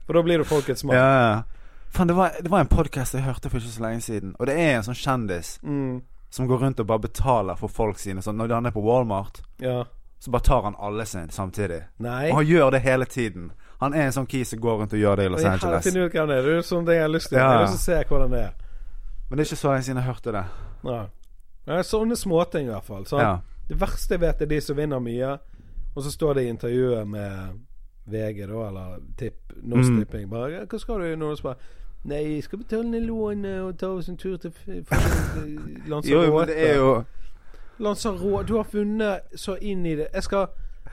Speaker 1: For da blir du folkets mann.
Speaker 2: ja, ja. Fan, det, var, det var en podkast jeg hørte for ikke så lenge siden, og det er en sånn kjendis
Speaker 1: Mm,
Speaker 2: som går rundt og bare betaler for folk sine. Sånn, når han er på Walmart,
Speaker 1: ja.
Speaker 2: så bare tar han alle sin samtidig.
Speaker 1: Nei.
Speaker 2: Og han gjør det hele tiden. Han er en sånn kis som går rundt og gjør det i Los
Speaker 1: Jeg har
Speaker 2: Angeles.
Speaker 1: funnet ut hvem det er. Det er jo sånn det jeg har lyst til.
Speaker 2: Ja.
Speaker 1: Jeg har lyst til å se hvordan det er.
Speaker 2: Men det er ikke så lenge siden jeg hørte det.
Speaker 1: Ja. Ja, sånne småting, i hvert fall. sant?
Speaker 2: Ja.
Speaker 1: Det verste jeg vet, er de som vinner mye, og så står det i intervjuet med VG, da, eller Tipp, Norsk
Speaker 2: Mm.
Speaker 1: Tipping, bare «Ja, 'Hva skal du gjøre nå?' Og så bare 'Nei, jeg skal betale ned lånet og ta oss en tur til f- f-
Speaker 2: *laughs* Jo, men det er
Speaker 1: Lanzarote'.
Speaker 2: jo
Speaker 1: Lanzarote Du har funnet så inn i det. Jeg skal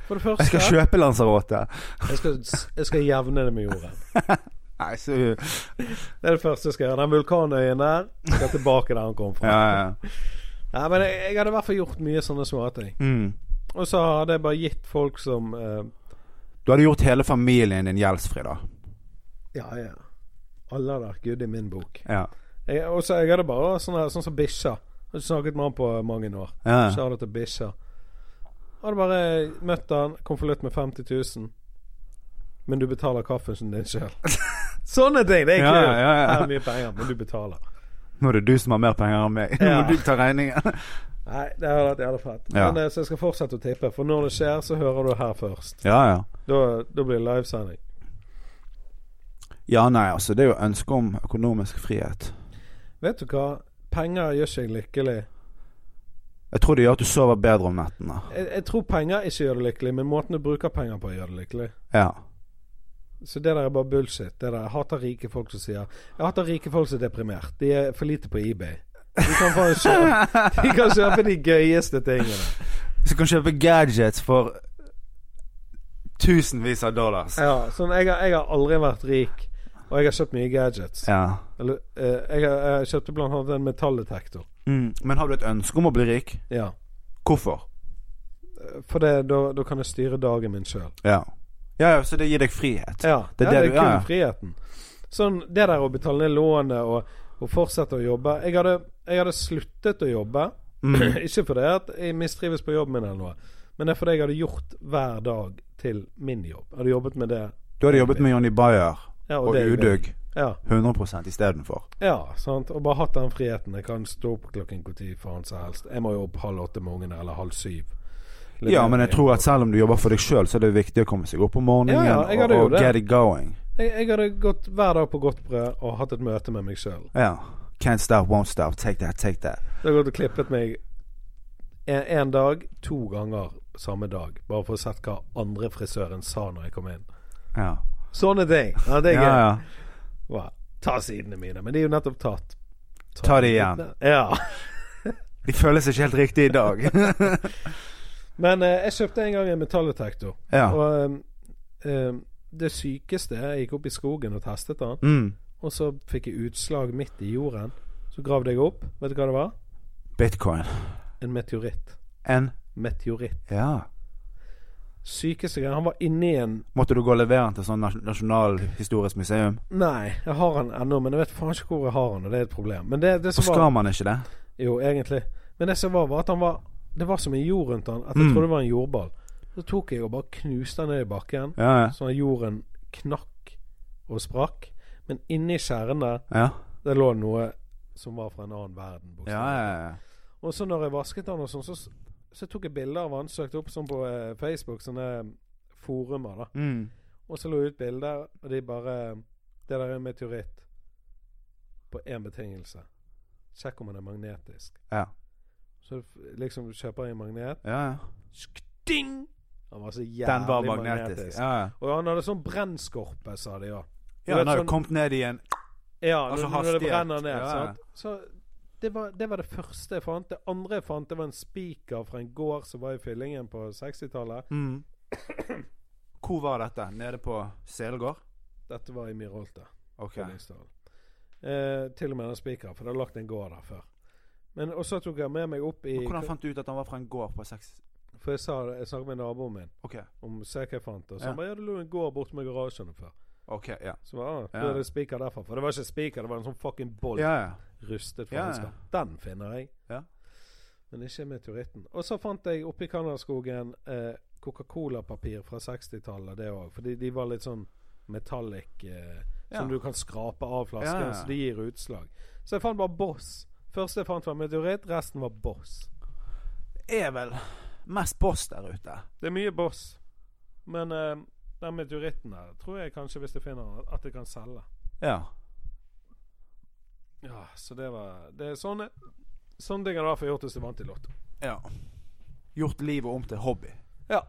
Speaker 1: For det
Speaker 2: *laughs*
Speaker 1: første
Speaker 2: Jeg skal kjøpe Lanzarote.
Speaker 1: jeg skal, jeg skal jevne det med jorden.
Speaker 2: Nei, så
Speaker 1: Det er det første jeg skal gjøre. Den vulkanøyen der skal tilbake der han kom fra.
Speaker 2: Ja, ja. ja.
Speaker 1: Nei, men jeg, jeg hadde i hvert fall gjort mye sånne småting.
Speaker 2: Mm.
Speaker 1: Og så hadde jeg bare gitt folk som eh,
Speaker 2: Du hadde gjort hele familien din gjeldsfri, da.
Speaker 1: Ja, ja. Alle hadde vært good i min bok.
Speaker 2: Ja.
Speaker 1: Jeg, og så jeg hadde bare sånn her- sånn som Bisha. Jeg har snakket med han på mange år.
Speaker 2: Ja.
Speaker 1: Så hadde jeg til Bisha. Hadde bare møtt han, konvolutt med 50 000. Men du betaler kaffen din
Speaker 2: *laughs*
Speaker 1: sjøl. Sånne ting! Det er
Speaker 2: Ja,
Speaker 1: kult.
Speaker 2: ja, ja, ja.
Speaker 1: Her er mye penger, men du betaler.
Speaker 2: Nå er det du som har mer penger enn meg. *laughs* Nå
Speaker 1: Ja.
Speaker 2: må du ta regningen. *laughs*
Speaker 1: Nei, det hadde vært jævla fett.
Speaker 2: Ja.
Speaker 1: Men, eh, så jeg skal fortsette å tippe, for når det skjer, så hører du her først.
Speaker 2: Ja, ja.
Speaker 1: Da, da blir det livesending.
Speaker 2: Ja, nei, altså det er jo ønsket om økonomisk frihet.
Speaker 1: Vet du hva? Penger gjør ikke jeg lykkelig.
Speaker 2: Jeg tror det gjør at du sover bedre om nettene.
Speaker 1: Jeg, jeg tror penger ikke gjør det lykkelig, men måten du bruker penger på, gjør det lykkelig. *laughs*
Speaker 2: Ja.
Speaker 1: Så det der er bare bullshit. Det der, jeg hater rike folk som sier Jeg hater rike folk som er deprimert. De er for lite på eBay. De kan, faen kjøpe, *laughs* de kan kjøpe de gøyeste tingene.
Speaker 2: Så kan du kjøpe gadgets for tusenvis av dollars.
Speaker 1: Ja, sånn, jeg, har, jeg har aldri vært rik, og jeg har kjøpt mye gadgets.
Speaker 2: Ja.
Speaker 1: Eller, eh, jeg, har, jeg kjøpte blant annet en metalldetektor.
Speaker 2: Mm. Men har du et ønske om å bli rik?
Speaker 1: Ja.
Speaker 2: Hvorfor?
Speaker 1: Eh, For det, da, da kan jeg styre dagen min sjøl.
Speaker 2: Ja. ja, ja, så det gir deg frihet.
Speaker 1: Ja,
Speaker 2: Det er
Speaker 1: det, ja, det
Speaker 2: det
Speaker 1: er
Speaker 2: du-
Speaker 1: kun
Speaker 2: ja, ja.
Speaker 1: friheten. Sånn, det der å betale ned lånet og, og fortsette å jobbe Jeg hadde, jeg hadde sluttet å jobbe.
Speaker 2: Mm.
Speaker 1: *clears throat* ikke fordi at jeg mistrives på jobben min, eller noe men det er fordi jeg hadde gjort hver dag til min jobb. Jeg hadde jobbet med det.
Speaker 2: Du hadde jobbet med Johnny Bayer
Speaker 1: Ja,
Speaker 2: og
Speaker 1: det jeg vil.
Speaker 2: Udug
Speaker 1: Ja,
Speaker 2: 100 istedenfor.
Speaker 1: ja, sant. Og bare hatt den friheten. Jeg kan stå opp klokken når faen som helst. Jeg må jo opp halv åtte med ungene, eller halv syv. Litt
Speaker 2: Ja,
Speaker 1: mer
Speaker 2: men jeg
Speaker 1: enn-
Speaker 2: tror at selv om du jobber for deg sjøl, så er det viktig å komme seg opp om morgenen
Speaker 1: Ja, ja, jeg hadde
Speaker 2: og,
Speaker 1: jo
Speaker 2: og
Speaker 1: det.
Speaker 2: get it going.
Speaker 1: jeg, jeg hadde gått hver dag på godt brød og hatt et møte med meg sjøl.
Speaker 2: Ja. Can't stop, won't stop. Take that, take that.
Speaker 1: Jeg hadde gått og klippet meg en, en dag, to ganger samme dag. Bare for å sett hva andre frisøren sa når jeg kom inn.
Speaker 2: Ja.
Speaker 1: Sånne ting. Ja, det er
Speaker 2: ja,
Speaker 1: gøy.
Speaker 2: ja.
Speaker 1: Wow. Ta sidene mine. Men de er jo nettopp tatt.
Speaker 2: Ta det igjen.
Speaker 1: Ja.
Speaker 2: De føles ikke helt riktig i dag.
Speaker 1: Men eh, jeg kjøpte en gang en metalldetektor.
Speaker 2: ja.
Speaker 1: Og eh, eh, det sykeste Jeg gikk opp i skogen og testet den.
Speaker 2: Mm.
Speaker 1: Og så fikk jeg utslag midt i jorden. Så gravde jeg opp. Vet du hva det var?
Speaker 2: Bitcoin.
Speaker 1: En meteoritt.
Speaker 2: En
Speaker 1: Meteoritt.
Speaker 2: Ja.
Speaker 1: Sykeste greia Han var inni en
Speaker 2: Måtte du gå og levere den til sånn nas- nasjonalhistorisk museum?
Speaker 1: Nei, jeg har han ennå, men jeg vet faen ikke hvor jeg har han, og det er et problem. Men det, det
Speaker 2: Så
Speaker 1: som var
Speaker 2: skal man ikke det?
Speaker 1: Jo, egentlig. Men det som var, var at han var Det var som en jord rundt han, at jeg
Speaker 2: Mm.
Speaker 1: trodde det var en jordball. Så tok jeg og bare knuste han ned i bakken,
Speaker 2: Ja, ja.
Speaker 1: sånn at jorden knakk og sprakk. Men inni kjernen der,
Speaker 2: Ja,
Speaker 1: der lå noe som var fra en annen verden.
Speaker 2: ja, ja, ja.
Speaker 1: Og så når jeg vasket han og sånn, så, så tok jeg bilder av han, søkte opp sånn på eh, Facebook, sånne forumer, da.
Speaker 2: Mm.
Speaker 1: Og så lå jeg ut bilder, og de bare Det der er en meteoritt. På én betingelse. Sjekk om den er magnetisk.
Speaker 2: Ja.
Speaker 1: Så du f- liksom du kjøper en magnet
Speaker 2: ja, ja.
Speaker 1: Skting! Han var så jævlig
Speaker 2: Den var
Speaker 1: magnetisk.
Speaker 2: magnetisk. Ja, ja.
Speaker 1: Og han hadde sånn brennskorpe, sa de òg.
Speaker 2: ja
Speaker 1: vet
Speaker 2: den har jo
Speaker 1: sånn-
Speaker 2: kommet ned i en
Speaker 1: Ja,
Speaker 2: Altså
Speaker 1: når, når det
Speaker 2: hastighet.
Speaker 1: brenner ned.
Speaker 2: Ja, ja.
Speaker 1: Sant? Så det var, det var det første jeg fant. Det andre jeg fant, det var en spiker fra en gård som var i fyllingen på 60-tallet.
Speaker 2: mm. Hvor var dette? Nede på Selegård?
Speaker 1: Dette var i Myrholte.
Speaker 2: Ok.
Speaker 1: Fyllingsdalen. Eh, til og med den spikeren, for det har lagt en gård der før. Men Og så tok jeg med meg opp i
Speaker 2: Hvordan fant du ut at han var fra en gård på seks
Speaker 1: For jeg sa det- jeg snakket med naboen min
Speaker 2: Ok,
Speaker 1: om se hva jeg fant. Og så
Speaker 2: Ja.
Speaker 1: han bare ja, det lå en gård borte med garasjen før.
Speaker 2: ok, ja.
Speaker 1: Så jeg bare, ah,
Speaker 2: Ja.
Speaker 1: da er det spiker derfra. For det var ikke spiker, det var en sånn fucking boll.
Speaker 2: Ja, ja.
Speaker 1: Rustet
Speaker 2: Ja, ja.
Speaker 1: faenskap. Den finner jeg.
Speaker 2: Ja.
Speaker 1: Men ikke meteoritten. Og så fant jeg oppe i Canadaskogen eh, Coca-Cola-papir fra 60-tallet, det òg. Fordi de var litt sånn metallic eh,
Speaker 2: Ja.
Speaker 1: Som du kan skrape av flasken,
Speaker 2: Ja, ja.
Speaker 1: så det gir utslag. Så jeg fant bare Boss. Første jeg fant var meteoritt, resten var Boss.
Speaker 2: Er vel mest boss der ute.
Speaker 1: Det er mye Boss. Men eh, den meteoritten der tror jeg kanskje, hvis jeg finner den, at jeg kan selge.
Speaker 2: Ja.
Speaker 1: Ja, så det var Det er sånne Sånne ting har jeg gjort hvis jeg vant i Lotto.
Speaker 2: ja. Gjort livet om til hobby.
Speaker 1: Ja.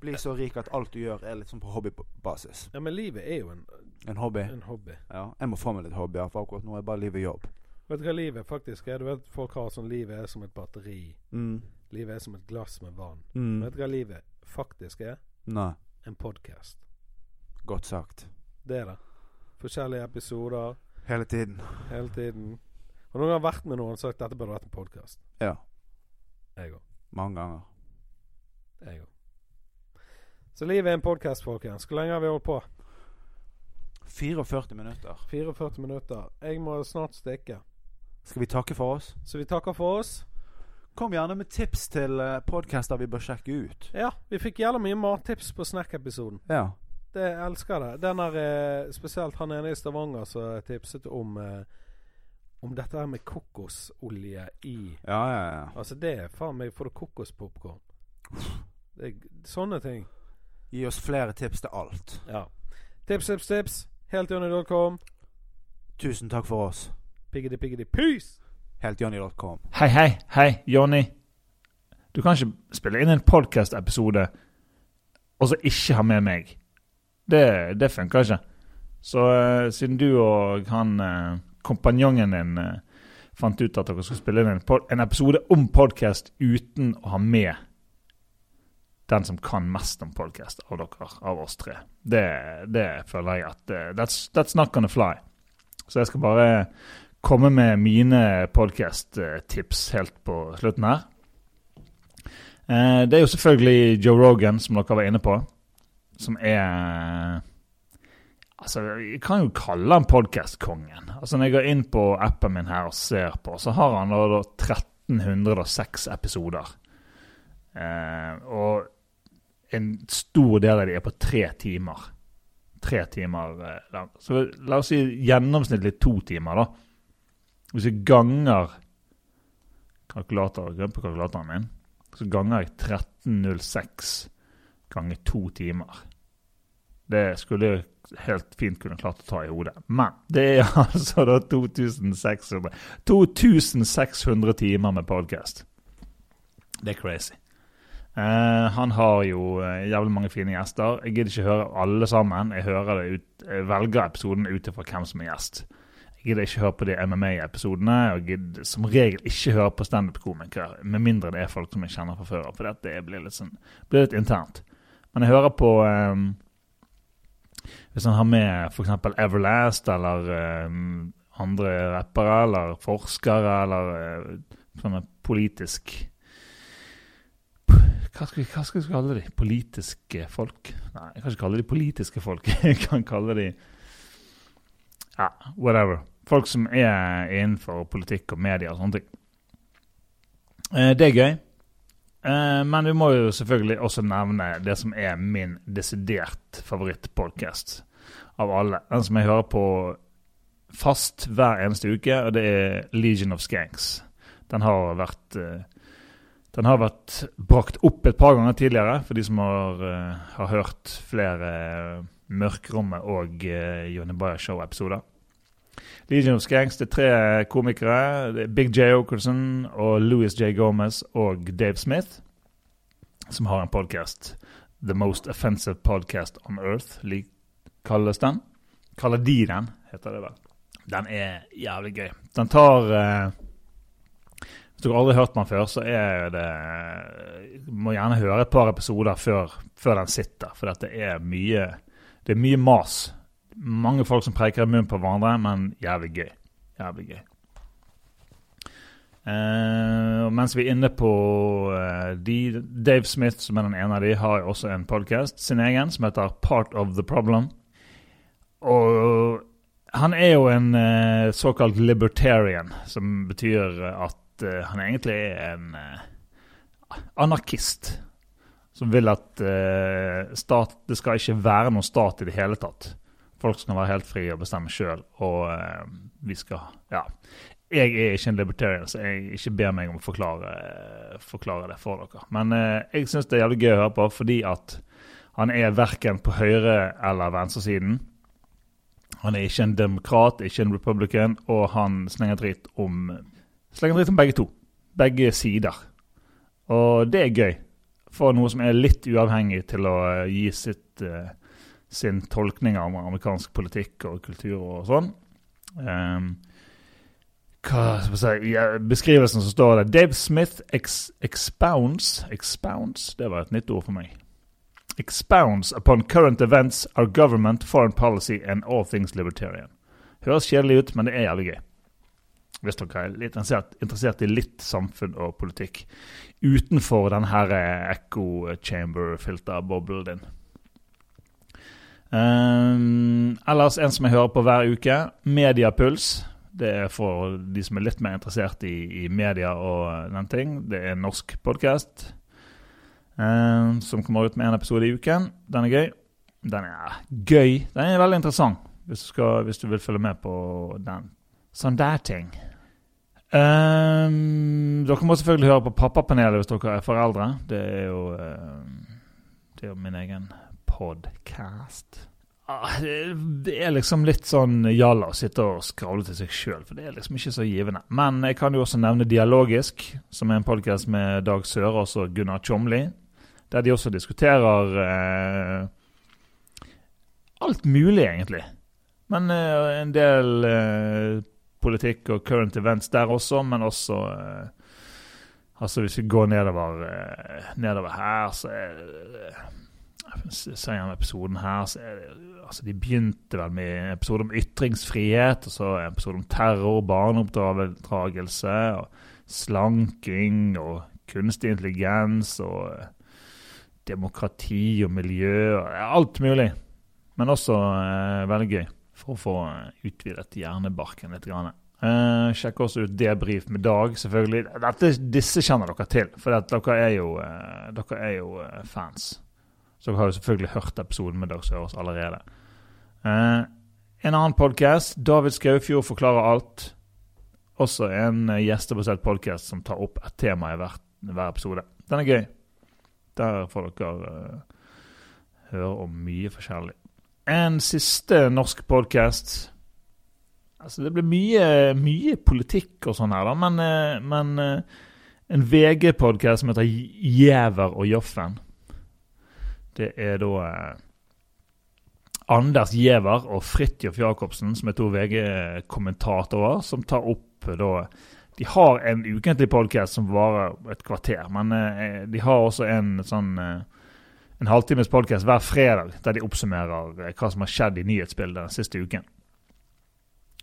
Speaker 2: Bli så rik at alt du gjør er litt sånn på hobbybasis.
Speaker 1: ja, men livet er jo en,
Speaker 2: En hobby?
Speaker 1: en hobby.
Speaker 2: Ja. Jeg må få meg litt hobbyer, for akkurat nå er bare livet jobb.
Speaker 1: Vet du hva livet faktisk er? Du vet Folk har sånn Livet er som et batteri.
Speaker 2: Mm.
Speaker 1: Livet er som et glass med vann.
Speaker 2: Mm.
Speaker 1: Vet du hva livet faktisk er?
Speaker 2: Nei.
Speaker 1: En podkast.
Speaker 2: Godt sagt.
Speaker 1: Det er det. Forskjellige episoder
Speaker 2: Hele tiden.
Speaker 1: hele tiden. Og noen har vært med noen og sagt 'dette burde vært en podkast'.
Speaker 2: Ja.
Speaker 1: Jeg òg.
Speaker 2: Mange ganger.
Speaker 1: Jeg òg. Så livet er en podkast, folkens. Hvor lenge har vi holdt på?
Speaker 2: 44 minutter.
Speaker 1: 44 minutter. Jeg må snart stikke.
Speaker 2: Skal vi takke for oss?
Speaker 1: Så vi takker for oss.
Speaker 2: Kom gjerne med tips til eh, podcaster vi bør sjekke ut.
Speaker 1: Ja, vi fikk jævla mye mattips på Snack-episoden.
Speaker 2: Ja.
Speaker 1: Det jeg elsker det. Den er eh, spesielt han ene i Stavanger som tipset om eh, Om dette her med kokosolje i
Speaker 2: Ja, ja, ja.
Speaker 1: Altså, det er faen meg Får du kokospopkorn? Det er g- Sånne ting.
Speaker 2: Gi oss flere tips til alt.
Speaker 1: Ja. Tips, tips, tips. Heltjonny.com.
Speaker 2: Tusen takk for oss.
Speaker 1: Piggedy, piggedy, pys!
Speaker 2: Heltjohnny.com.
Speaker 3: Hei, hei, hei, Jonny. Du kan ikke spille inn en podcast-episode og så ikke ha med meg. Det, det funker ikke. Så eh, siden du og han eh, kompanjongen din eh, fant ut at dere skulle spille inn en, pod en episode om podcast uten å ha med den som kan mest om podcast av dere, av oss tre. Det, det føler jeg at eh, that's, that's not gonna fly. Så jeg skal bare komme med mine podkast-tips helt på slutten her. Eh, det er jo selvfølgelig Joe Rogan, som dere var inne på, som er Altså, Vi kan jo kalle han podkastkongen. Altså, når jeg går inn på appen min her og ser på, så har han da, da 1306 episoder. Eh, og en stor del av de er på tre timer. Tre timer eh, lang. Så la oss si gjennomsnittlig to timer, da. Hvis jeg ganger kalkulator, går inn på kalkulatoren min, så ganger jeg 1306 ganger to timer. Det skulle jeg helt fint kunne klart å ta i hodet. Men det er *laughs* altså da 2600 2600 timer med podcast. Det er crazy. Eh, han har jo eh, jævlig mange fine gjester. Jeg gidder ikke høre alle sammen. Jeg, hører det ut, jeg velger episoden ut ifra hvem som er gjest. Jeg gidder ikke høre på de MMA-episodene, og jeg gidder som regel ikke høre på standup-komikere, med mindre det er folk som jeg kjenner fra før av, for dette blir litt, sånn, blir litt internt. Men jeg hører på eh, hvis han har med f.eks. Everlast eller eh, andre rappere eller forskere eller eh, sånne politisk hva skal, vi, hva skal vi kalle de? Politiske folk? Nei, jeg kan ikke kalle de politiske folk. *laughs* Jeg kan kalle de Ja, whatever. Folk som er innenfor politikk og media og sånne ting. Eh, det er gøy. Eh, men vi må jo selvfølgelig også nevne det som er min desidert favorittpodkast av alle. Den som jeg hører på fast hver eneste uke, og det er Legion of Skanks. Den har vært eh, den har vært brakt opp et par ganger tidligere, for de som har, eh, har hørt flere eh, Mørkrommet og uh, Jonny Bayer Show-episoder. Legion of Skanks, det er tre komikere. Det er Big J. Okerson og Louis J. Gomez og Dave Smith, som har en podcast. The Most Offensive Podcast on Earth lik- kalles den. Kaller de den, heter det vel. Den er jævlig gøy. Den tar eh, Hvis dere aldri har hørt den før, så er det Må gjerne høre et par episoder før, før den sitter, for dette er mye det er mye mas. Mange folk som preker i munnen på hverandre, men jævlig gøy. Jævlig gøy. Eh, og mens vi er inne på eh, de, Dave Smith, som er den ene av de, har jo også en podkast, sin egen, som heter Part of the Problem. Og han er jo en eh, såkalt libertarian, som betyr eh, at eh, han egentlig er en eh, anarkist som vil at eh, stat, det skal ikke være noen stat i det hele tatt. Folk skal være helt frie og bestemme sjøl, og eh, vi skal Ja. Jeg er ikke en libertarian, så jeg ikke ber meg om å forklare, forklare det for dere. Men eh, jeg syns det er jævlig gøy å høre på, fordi at han er verken på høyre- eller venstresiden. Han er ikke en demokrat, ikke en republican, og han slenger dritt om Slenger dritt om begge to. Begge sider. Og det er gøy få noe som er litt uavhengig til å eh, gi sitt, eh, sin tolkning av amerikansk politikk og kultur og sånn. Ehm, hva skal jeg si, ja, beskrivelsen som står der Dave Smith ex expounds Expounds? Det var et nytt ord for meg. Expounds upon current events, our government, foreign policy and all things libertarian. Høres kjedelig ut, men det er jævlig gøy. Hvis dere er litt interessert, interessert i litt samfunn og politikk utenfor den her eh, echo chamber-filterboblen din. Ehm, ellers en som jeg hører på hver uke, Mediapuls. Det er for de som er litt mer interessert i, i media og den ting. Det er en norsk podkast som kommer ut med én episode i uken. Den er gøy. Den er gøy. Den er veldig interessant, hvis du, skal, hvis du vil følge med på den. Sånn der ting. Ehm, dere må selvfølgelig høre på Pappapanelet hvis dere er foreldre. Det er jo, ehm, det er jo min egen podcast. Ah, det- Det er liksom litt sånn jalla å sitte og skravle til seg sjøl, for det er liksom ikke så givende. Men jeg kan jo også nevne Dialogisk, som er en podkast med Dag Sørås og Gunnar Tjomli, der de også diskuterer eh, alt mulig, egentlig. Men eh, en del eh, politikk og current events der også, men også eh, Altså, hvis vi går nedover, eh, nedover her, så er det eh, Ser gjennom episoden her, så er det Altså, de begynte vel med en episode om ytringsfrihet, og så en episode om terror, barneoppdragelse, og slanking og kunstig intelligens og eh, demokrati og miljø og alt mulig. Men også eh, veldig gøy for å få eh, utvidet hjernebarken litt. Grann. Eh, sjekk også ut debrief med Dag, selvfølgelig. Dette, disse kjenner dere til, for at dere er jo, eh, dere er jo eh, fans. Så dere har jo selvfølgelig hørt episoden med Dag Sørås allerede. Eh, en annen podkast, David Skaufjord forklarer alt. Også en eh, gjestebasert podkast som tar opp et tema i hver, hver episode. Den er gøy. Der får dere eh, høre om mye forskjellig. En siste norsk podkast. Altså, det blir mye, mye politikk og sånn her, da, men, eh, men eh, en VG-podkast som heter J- Jæver og Joffen. Det er da eh, Anders Giæver og Fridtjof Jacobsen, som er to VG-kommentatorer, som tar opp eh, da De har en ukentlig podkast som varer et kvarter, men eh, de har også en sånn eh, en halvtimes podkast hver fredag der de oppsummerer eh, hva som har skjedd i nyhetsbildet den siste uken.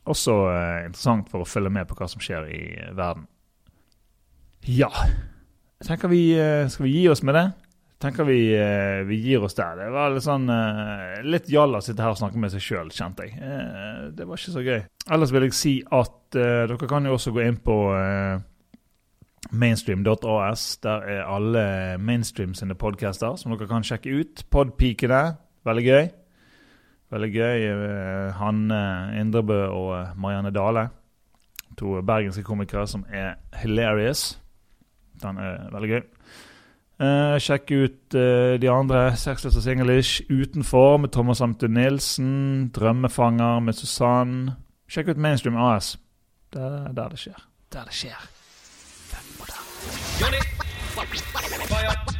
Speaker 3: Også eh, interessant for å følge med på hva som skjer i eh, verden. Ja Jeg tenker vi eh, Skal vi gi oss med det? tenker vi, eh, vi gir oss der. Det var litt sånn eh, Litt jalla å sitte her og snakke med seg sjøl, kjente jeg. Eh, det var ikke så gøy. Ellers vil jeg si at eh, dere kan jo også gå inn på eh, mainstream.as. Der er alle mainstream sine podcaster som dere kan sjekke ut. Podpikene, veldig gøy. Veldig gøy. eh, Hanne Indrebø og eh, Marianne Dale. To bergenske komikere som er hilarious. Den er veldig gøy. Eh, sjekk ut eh, de andre. Sexless og singlish. Utenfor med Thomas Amte Nilsen. Drømmefanger med Susann. Sjekk ut Mainstream AS. Det er der det skjer. Der det skjer.
Speaker 4: Fire.